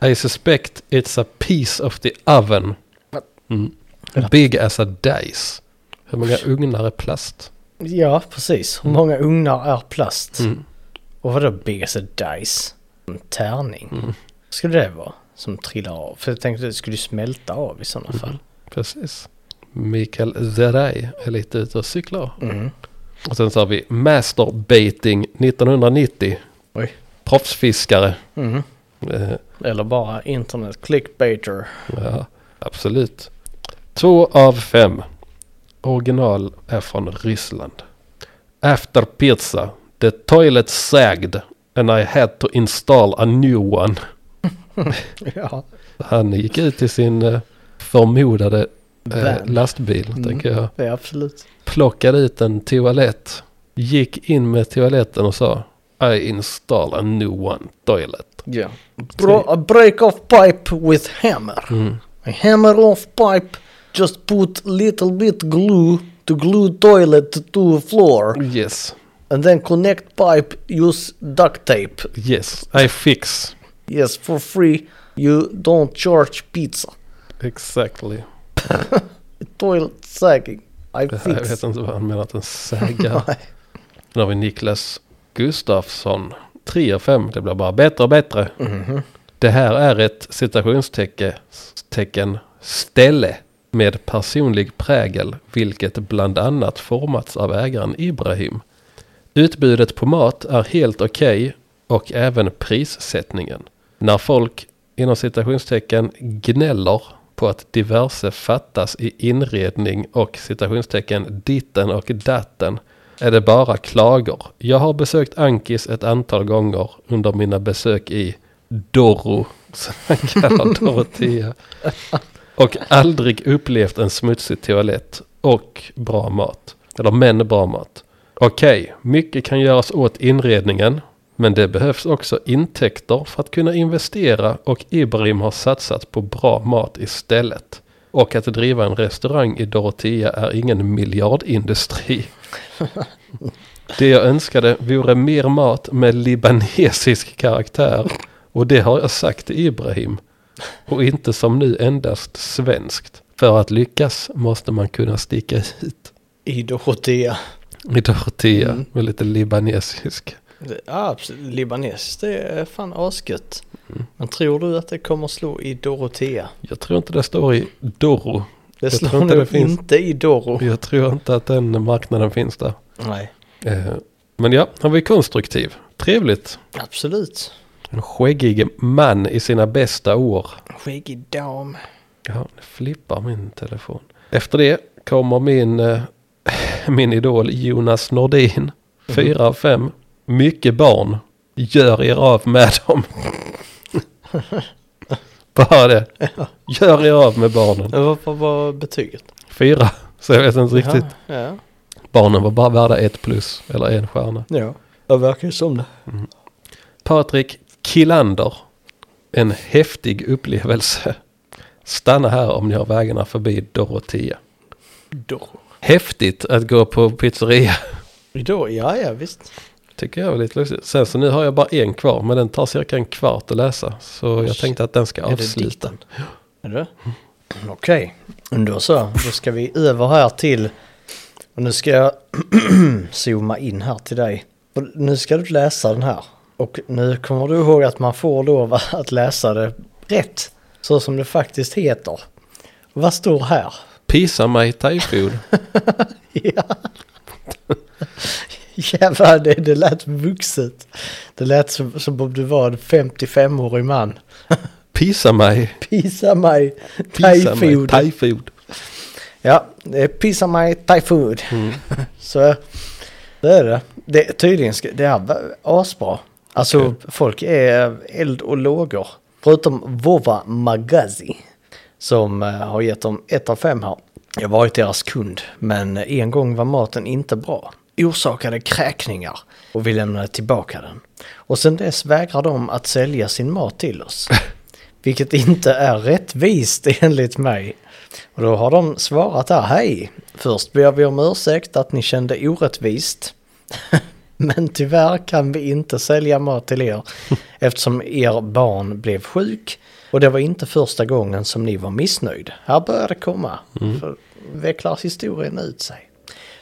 A: Eh, I suspect it's a piece of the oven.
B: What?
A: Mm. Big as a dice. Hur många ugnar är plast?
B: Ja, precis. Hur många ugnar är plast?
A: Mm.
B: Och vadå big as a dice? En tärning?
A: Mm.
B: Skulle det vara? Som trillar av? För jag tänkte att det skulle smälta av i sådana fall.
A: Precis. Mikael Zerai är lite ute och cyklar.
B: Mm.
A: Och sen så har vi Masterbaiting 1990.
B: Oj.
A: Proffsfiskare.
B: Mm.
A: Eh,
B: Eller bara internet clickbaiter. <laughs>
A: Ja, absolut. Två av fem. Original är från Ryssland. After pizza, the toilet sagged and I had to install a new one.
B: Ja.
A: Han gick ut i sin eh, förmodade eh,
B: Van.
A: lastbil,
B: Mm.
A: tänker jag.
B: Det är absolut.
A: Plockade ut en toalett. Gick in med toaletten och sa I install a new one toilet.
B: Ja. Bro, a break off pipe with hammer.
A: Mm.
B: A hammer off pipe. Just put little bit glue to glue toilet to floor.
A: Yes,
B: And then connect pipe use duct tape.
A: yes, I fix.
B: Yes, for free. You don't charge pizza.
A: Exactly.
B: Toilet sagging. I
A: Det här, jag
B: fix.
A: vet inte vad han menar att den sägar. Sen har vi Niklas Gustafsson. 3 och 5, det blir bara bättre och bättre. Det här är ett citationstecken ställe med personlig prägel, vilket bland annat formats av ägaren Ibrahim. Utbudet på mat är helt okej och även prissättningen. När folk inom citationstecken gnäller på att diverse fattas i inredning och citationstecken ditten och datten är det bara klagor. Jag har besökt Ankis ett antal gånger under mina besök i Dorro, som man kallar Dorotea. Och aldrig upplevt en smutsig toalett och bra mat. Eller men bra mat. Okej, mycket kan göras åt inredningen. Men det behövs också intäkter för att kunna investera och Ibrahim har satsat på bra mat istället. Och att driva en restaurang i Dorotea är ingen miljardindustri. Det jag önskade vore mer mat med libanesisk karaktär. Och det har jag sagt till Ibrahim. Och inte som nu endast svenskt. För att lyckas måste man kunna sticka hit
B: I Dorotea.
A: i Dorotea
B: Mm.
A: med lite libanesisk.
B: Det- Ja, absolut. Libanesiskt det är fan asgött. Men tror du att det kommer slå i Dorotea?
A: Jag tror inte det står i Doro.
B: Det
A: Jag
B: slår
A: tror inte
B: nog
A: det finns.
B: inte i Doro.
A: Jag tror inte att den marknaden finns där.
B: Nej,
A: Eh, Men ja, han var ju konstruktiv. Trevligt.
B: absolut.
A: En skäggig man i sina bästa år.
B: Skäggig dam.
A: Ja, nu flippar min telefon. Efter det kommer min, eh, <laughs> min idol Jonas Nordin. fyra av fem Mycket barn. Gör er av med dem. Bara det. Gör er av med barnen.
B: Men Vad vad var betyget?
A: fyra Så jag vet inte riktigt.
B: Ja,
A: Barnen var bara värda ett plus. Eller en stjärna.
B: ja. Det verkar ju som det.
A: Patrik Killander. En häftig upplevelse. Stanna här om ni har vägarna förbi Dorotea.
B: Doro.
A: Häftigt att gå på pizzeria.
B: Doro, ja, ja, visst.
A: Tycker jag var lite lustigt. Sen så nu har jag bara en kvar. Men den tar cirka en kvart att läsa. Så jag
B: shit.
A: tänkte att den ska
B: Är det
A: avsluta.
B: Är det? Mm, Okej, då så. Då ska vi över här till... Och nu ska jag <clears throat> zooma in här till dig. Och nu ska du läsa den här. Och nu kommer du ihåg att man får lov <laughs> att läsa det rätt. Så som det faktiskt heter. Vad står här? <laughs>
A: Pisa mig Thaifood.
B: Ja. Jävlar, det, det lät vuxet. Det lät som, som om du var en 55-årig man.
A: Pisa mig.
B: Pisa mig,
A: Pisa mig
B: Thaifood.
A: Thaifood.
B: Ja, det är Pizza My Thai Food. <laughs> Så det är det. det tydligen ska, det här var asbra. Alltså folk är eld och lågor. Förutom Vova Magazi som eh, har gett dem ett av fem här. Jag har varit deras kund, men en gång var maten inte bra. Orsakade kräkningar och vi lämnade tillbaka den. Och sen dess vägrar de att sälja sin mat till oss. Vilket inte är rättvist <laughs> enligt mig. Och då har de svarat här, hej! Först ber vi om ursäkt att ni kände orättvist. Men tyvärr kan vi inte sälja mat till er eftersom er barn blev sjuk. Och det var inte första gången som ni var missnöjd. Här börjar det komma. För vecklar historien ut sig.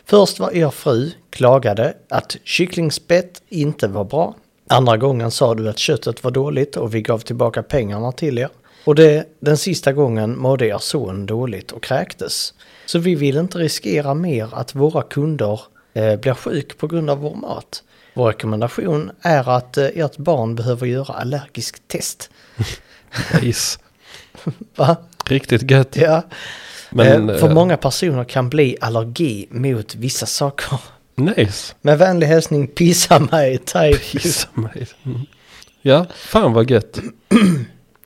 B: Först var er fru klagade att kycklingspett inte var bra. Andra gången sa du att köttet var dåligt och vi gav tillbaka pengarna till er. Och det, den sista gången mådde er son dåligt och kräktes. Så vi vill inte riskera mer att våra kunder eh, blir sjuk på grund av vår mat. Vår rekommendation är att eh, ert barn behöver göra allergiskt test.
A: Nice.
B: Va?
A: Riktigt gött.
B: Ja.
A: Men,
B: eh, för
A: eh,
B: många personer kan bli allergi mot vissa saker.
A: Nice.
B: Med vänlig hälsning, pissa mig, type.
A: <laughs> Pissa mig. Mm. Ja, fan vad gött.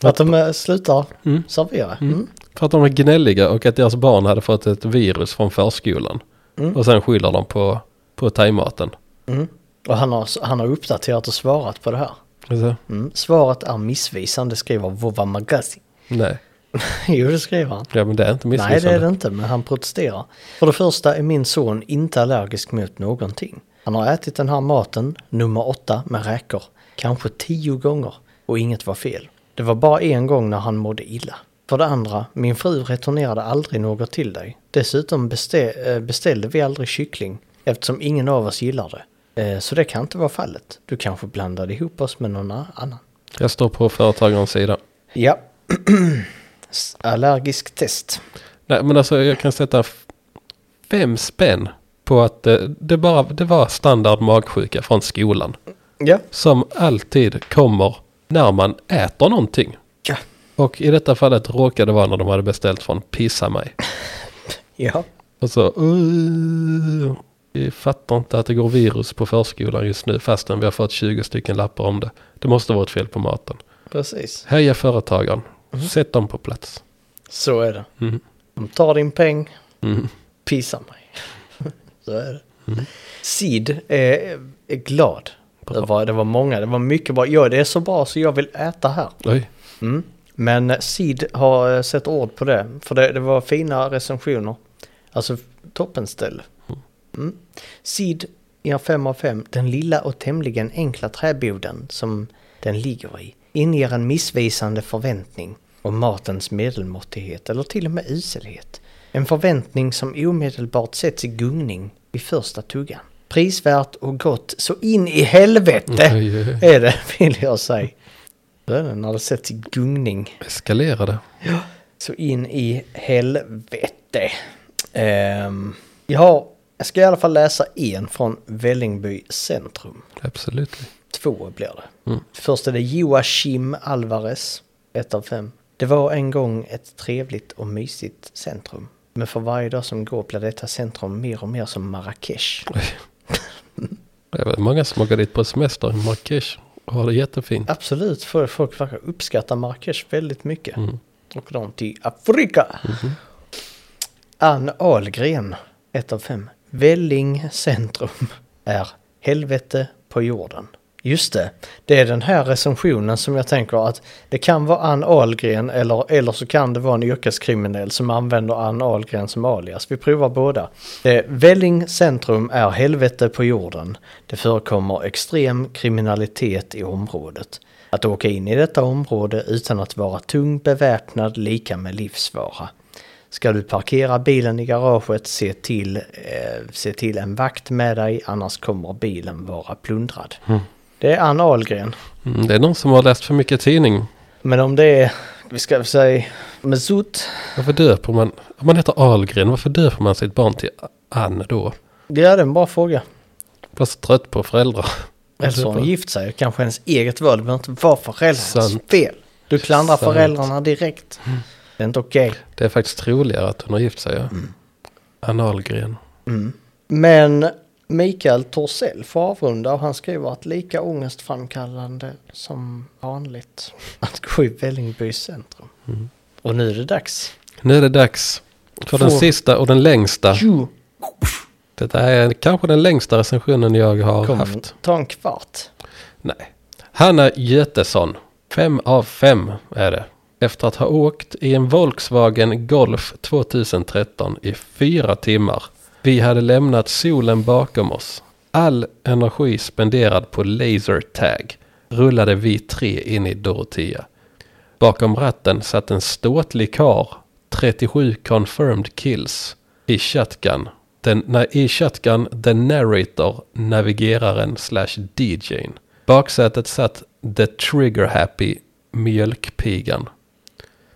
B: Att de eh, slutar servera. Mm.
A: För att de är gnälliga och att deras barn hade fått ett virus från förskolan. Och sen skyller de på, på thaimaten.
B: Och han har, han har uppdaterat och svarat på det här.
A: Alltså,
B: Mm. Svaret är missvisande, skriver Vova Magazi.
A: Nej,
B: <laughs> jo, det skriver han.
A: ja, men det är inte
B: Nej,
A: missvisande.
B: det är det inte, men han protesterar. För det första är min son inte allergisk mot någonting. Han har ätit den här maten, nummer åtta, med räkor, kanske tio gånger och inget var fel. Det var bara en gång när han mådde illa. För det andra, min fru returnerade aldrig något till dig. Dessutom bestä- eh, beställde vi aldrig kyckling eftersom ingen av oss gillar det. Eh, Så det kan inte vara fallet. Du kanske blandade ihop oss med någon annan.
A: Jag står på företagarens sida.
B: Ja. <clears throat> Allergisk test.
A: Nej, men alltså jag kan sätta f- fem spänn på att eh, det, bara, det var standard magsjuka från skolan.
B: Ja.
A: Som alltid kommer när man äter någonting.
B: Ja.
A: Och i detta fallet råkade det vara när de hade beställt från Pissa mig.
B: Ja.
A: Och så, "Uh, vi fattar inte att det går virus på förskolan just nu fastän vi har fått 20 stycken lappar om det. Det måste vara ett fel på maten.
B: Precis,
A: Heja företagaren,
B: Mm.
A: sätt dem på plats.
B: så är det.
A: Mm.
B: De tar din peng,
A: Mm.
B: pissar mig. <laughs> så är det. Sid är, är glad. Det var, det var många, det var mycket bra. Ja, det är så bra så jag vill äta här.
A: Oj,
B: Mm. Men Sid har eh, sett ord på det, för det, det var fina recensioner. Alltså toppenställ. Mm. Sid är 5 av 5. Den lilla och tämligen enkla träboden som den ligger i inger en missvisande förväntning om matens medelmåttighet eller till och med uselhet. En förväntning som omedelbart sätts i gungning vid första tuggan. Prisvärt och gott så in
A: <laughs>
B: i helvete
A: Oj, oj, oj.
B: är det <laughs> vill jag säga. Det är den hade sett i gungning.
A: eskalerade.
B: Så in i helvete. Ehm, jag, har, jag ska i alla fall läsa en från Vällingby centrum.
A: Absolut.
B: Två blir det. Först är det Joachim Alvarez, ett av fem. Det var en gång ett trevligt och mysigt centrum. Men för varje dag som går blir detta centrum mer och mer som Marrakesh.
A: Oj. Det var många som åker dit på semester i Marrakesh och har det jättefint.
B: Absolut, för folk verkar uppskatta Marrakesh väldigt mycket. Och de till Afrika. Ann Ahlgren, ett av fem. Välling centrum är helvete på jorden. Just det, det är den här recensionen som jag tänker att det kan vara Ann Ahlgren eller, eller så kan det vara en yrkeskriminell som använder Ann Ahlgren som alias. Vi provar båda. Eh, Välling centrum är helvete på jorden. Det förekommer extrem kriminalitet i området. Att åka in i detta område utan att vara tungt beväpnad lika med livsfara. Ska du parkera bilen i garaget, se till, eh, se till en vakt med dig, annars kommer bilen vara plundrad. Det är Ann Ahlgren.
A: Mm, det är någon som har läst för mycket tidning.
B: Men om det är, vi ska säga, Mesut.
A: Varför döper man, om man heter Ahlgren, varför döper man sitt barn till Ann då?
B: Det är en bra fråga.
A: Jag blir så trött på föräldrar.
B: Eller så har hon gift sig, kanske hennes eget val. Det behöver inte vara föräldrarnas
A: Sant.
B: fel. Du klandrar
A: Sant. Mm.
B: föräldrarna direkt. Det är inte okej.
A: Det är faktiskt troligare att hon har gift sig. Ja. Ann Ahlgren.
B: Men Mikael Torssell får avrunda och han skriver att lika ångestframkallande som vanligt att gå i Vällingby centrum. Och nu är det dags.
A: Nu är det dags för den
B: Får-
A: sista och den längsta.
B: Jo.
A: Detta är kanske den längsta recensionen jag har
B: Kommer
A: haft.
B: ta en kvart. <laughs>
A: Nej. Hanna Götesson. Fem av fem är det. Efter att ha åkt i en Volkswagen Golf 2013 i fyra timmar. Vi hade lämnat solen bakom oss. All energi spenderad på laser tag rullade vi tre in i Dorotea. Bakom ratten satt en ståtlig kar, 37 confirmed kills, i shotgun. Den, nej, I shotgun, the narrator, navigeraren slash DJn. Baksätet satt the trigger happy, mjölkpigan.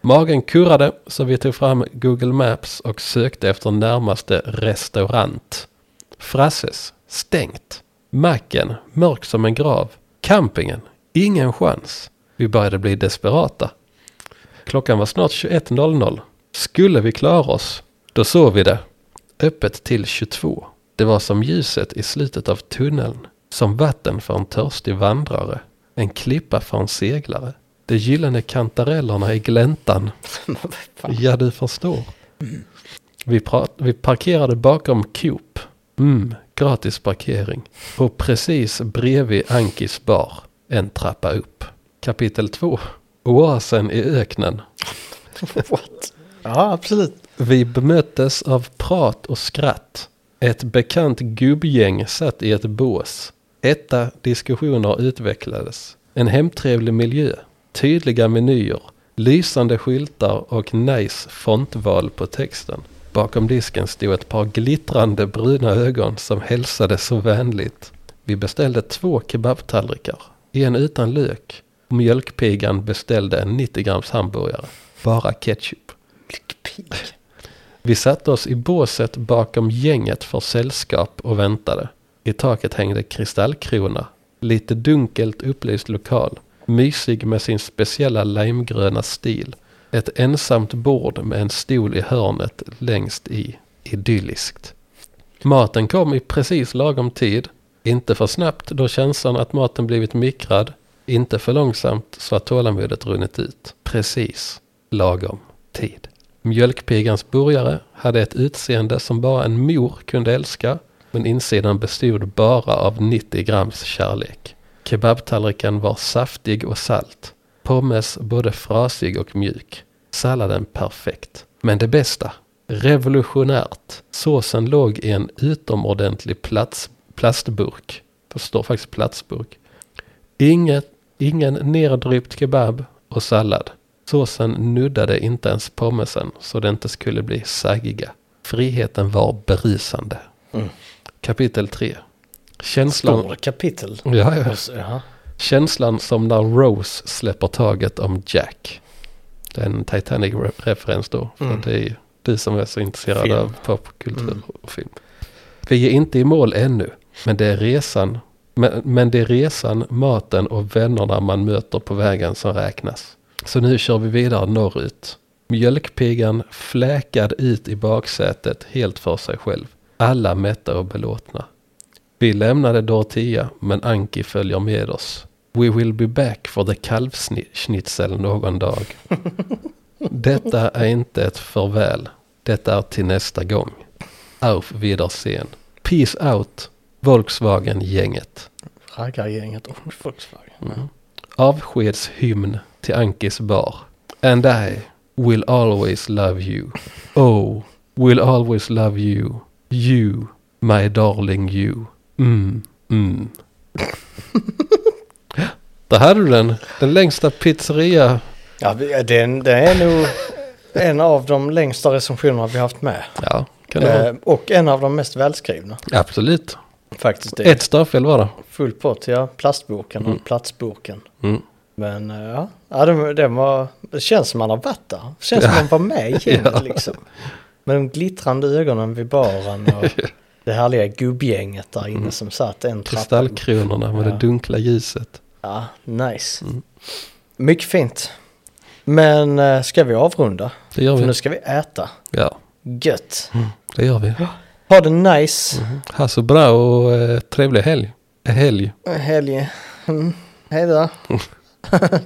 A: Magen kurrade så vi tog fram Google Maps och sökte efter närmaste restaurant. Frasses, stängt. Macken, mörk som en grav. Campingen, ingen chans. Vi började bli desperata. Klockan var snart 21.00. Skulle vi klara oss? Då såg vi det. Öppet till 22. Det var som ljuset i slutet av tunneln. Som vatten för en törstig vandrare. En klippa för en seglare. De gyllene kantarellerna i gläntan.
B: Vad fan?
A: Ja, du förstår. Vi, pra- vi parkerade bakom Coop. Mm, gratis parkering. Och precis bredvid Ankis bar. En trappa upp. Kapitel 2. Oasen i öknen.
B: What? Ja, absolut.
A: Vi bemöttes av prat och skratt. Ett bekant gubbgäng satt i ett bås. Etta diskussioner utvecklades. En hemtrevlig miljö. Tydliga menyer. Lysande skyltar och nice fontval på texten. Bakom disken stod ett par glittrande bruna ögon som hälsade så vänligt. Vi beställde två kebabtallrikar. En utan lök. Och mjölkpigan beställde en 90 grams hamburgare. Bara ketchup.
B: Lyckpig.
A: Vi satte oss i båset bakom gänget för sällskap och väntade. I taket hängde kristallkrona. Lite dunkelt upplyst lokal. Mysig med sin speciella limegröna stil. Ett ensamt bord med en stol i hörnet längst i. Idylliskt. Maten kom i precis lagom tid. Inte för snabbt då känslan att maten blivit mikrad. Inte för långsamt så att tålamodet runnit ut. Precis lagom tid. Mjölkpigans burgare hade ett utseende som bara en mor kunde älska. Men insidan bestod bara av 90 grams kärlek. Kebabtallriken var saftig och salt. Pommes både frasig och mjuk. Salladen perfekt. Men det bästa. Revolutionärt. Såsen låg i en utomordentlig plats, plastburk. Det står faktiskt plastburk. Inget, ingen neddrypt kebab och sallad. Såsen nuddade inte ens pommesen så det inte skulle bli saggiga. Friheten var berusande.
B: Mm.
A: Kapitel 3. Känslan...
B: Står det kapitel?
A: Ja, ja.
B: Och så- Jaha.
A: Känslan som när Rose släpper taget om Jack. Det är en Titanic-referens då. För
B: Mm.
A: det är ju du som är så intresserad
B: Film.
A: av popkultur
B: Mm.
A: och film. Vi är inte i mål ännu, men det är resan. Men, men det är resan, maten och vännerna man möter på vägen som räknas. Så nu kör vi vidare norrut. Mjölkpigan fläkad ut i baksätet helt för sig själv. Alla mätta och belåtna. Vi lämnade Dorotea, men Anki följer med oss. We will be back for the kalvschnitzel någon dag. Detta är inte ett förväl. Detta är till nästa gång. Auf Wiedersehen. Peace out, Volkswagen-gänget.
B: Raggargänget och Volkswagen.
A: Avskedshymn till Ankis bar. And I will always love you. Oh, will always love you. You, my darling you. Mm, mm. <laughs> Där hade du den. Den längsta pizzeria.
B: Ja, det, det är- det är nog en av de längsta recensionerna vi haft med.
A: Ja, kan det vara.
B: Eh, och en av de mest välskrivna.
A: Absolut.
B: Faktiskt. Det är
A: Ett stavfel var det.
B: full pott, ja. Plastboken och platsboken.
A: Mm.
B: Men eh, ja, ja den, den var, det känns som man har varit där. Det känns som man var med i gänget liksom. Med de glittrande ögonen vid baren och det härliga gubbgänget där inne som satt en trappa.
A: Kristallkronorna med det dunkla ljuset.
B: Ja, nice. Mycket fint. Men eh, ska vi avrunda?
A: Det gör
B: För nu
A: vi.
B: ska vi äta.
A: Ja,
B: Gött.
A: det gör vi.
B: Ha det nice.
A: Ha så bra och eh, trevlig helg. Helg.
B: Helg. Mm. Hej då.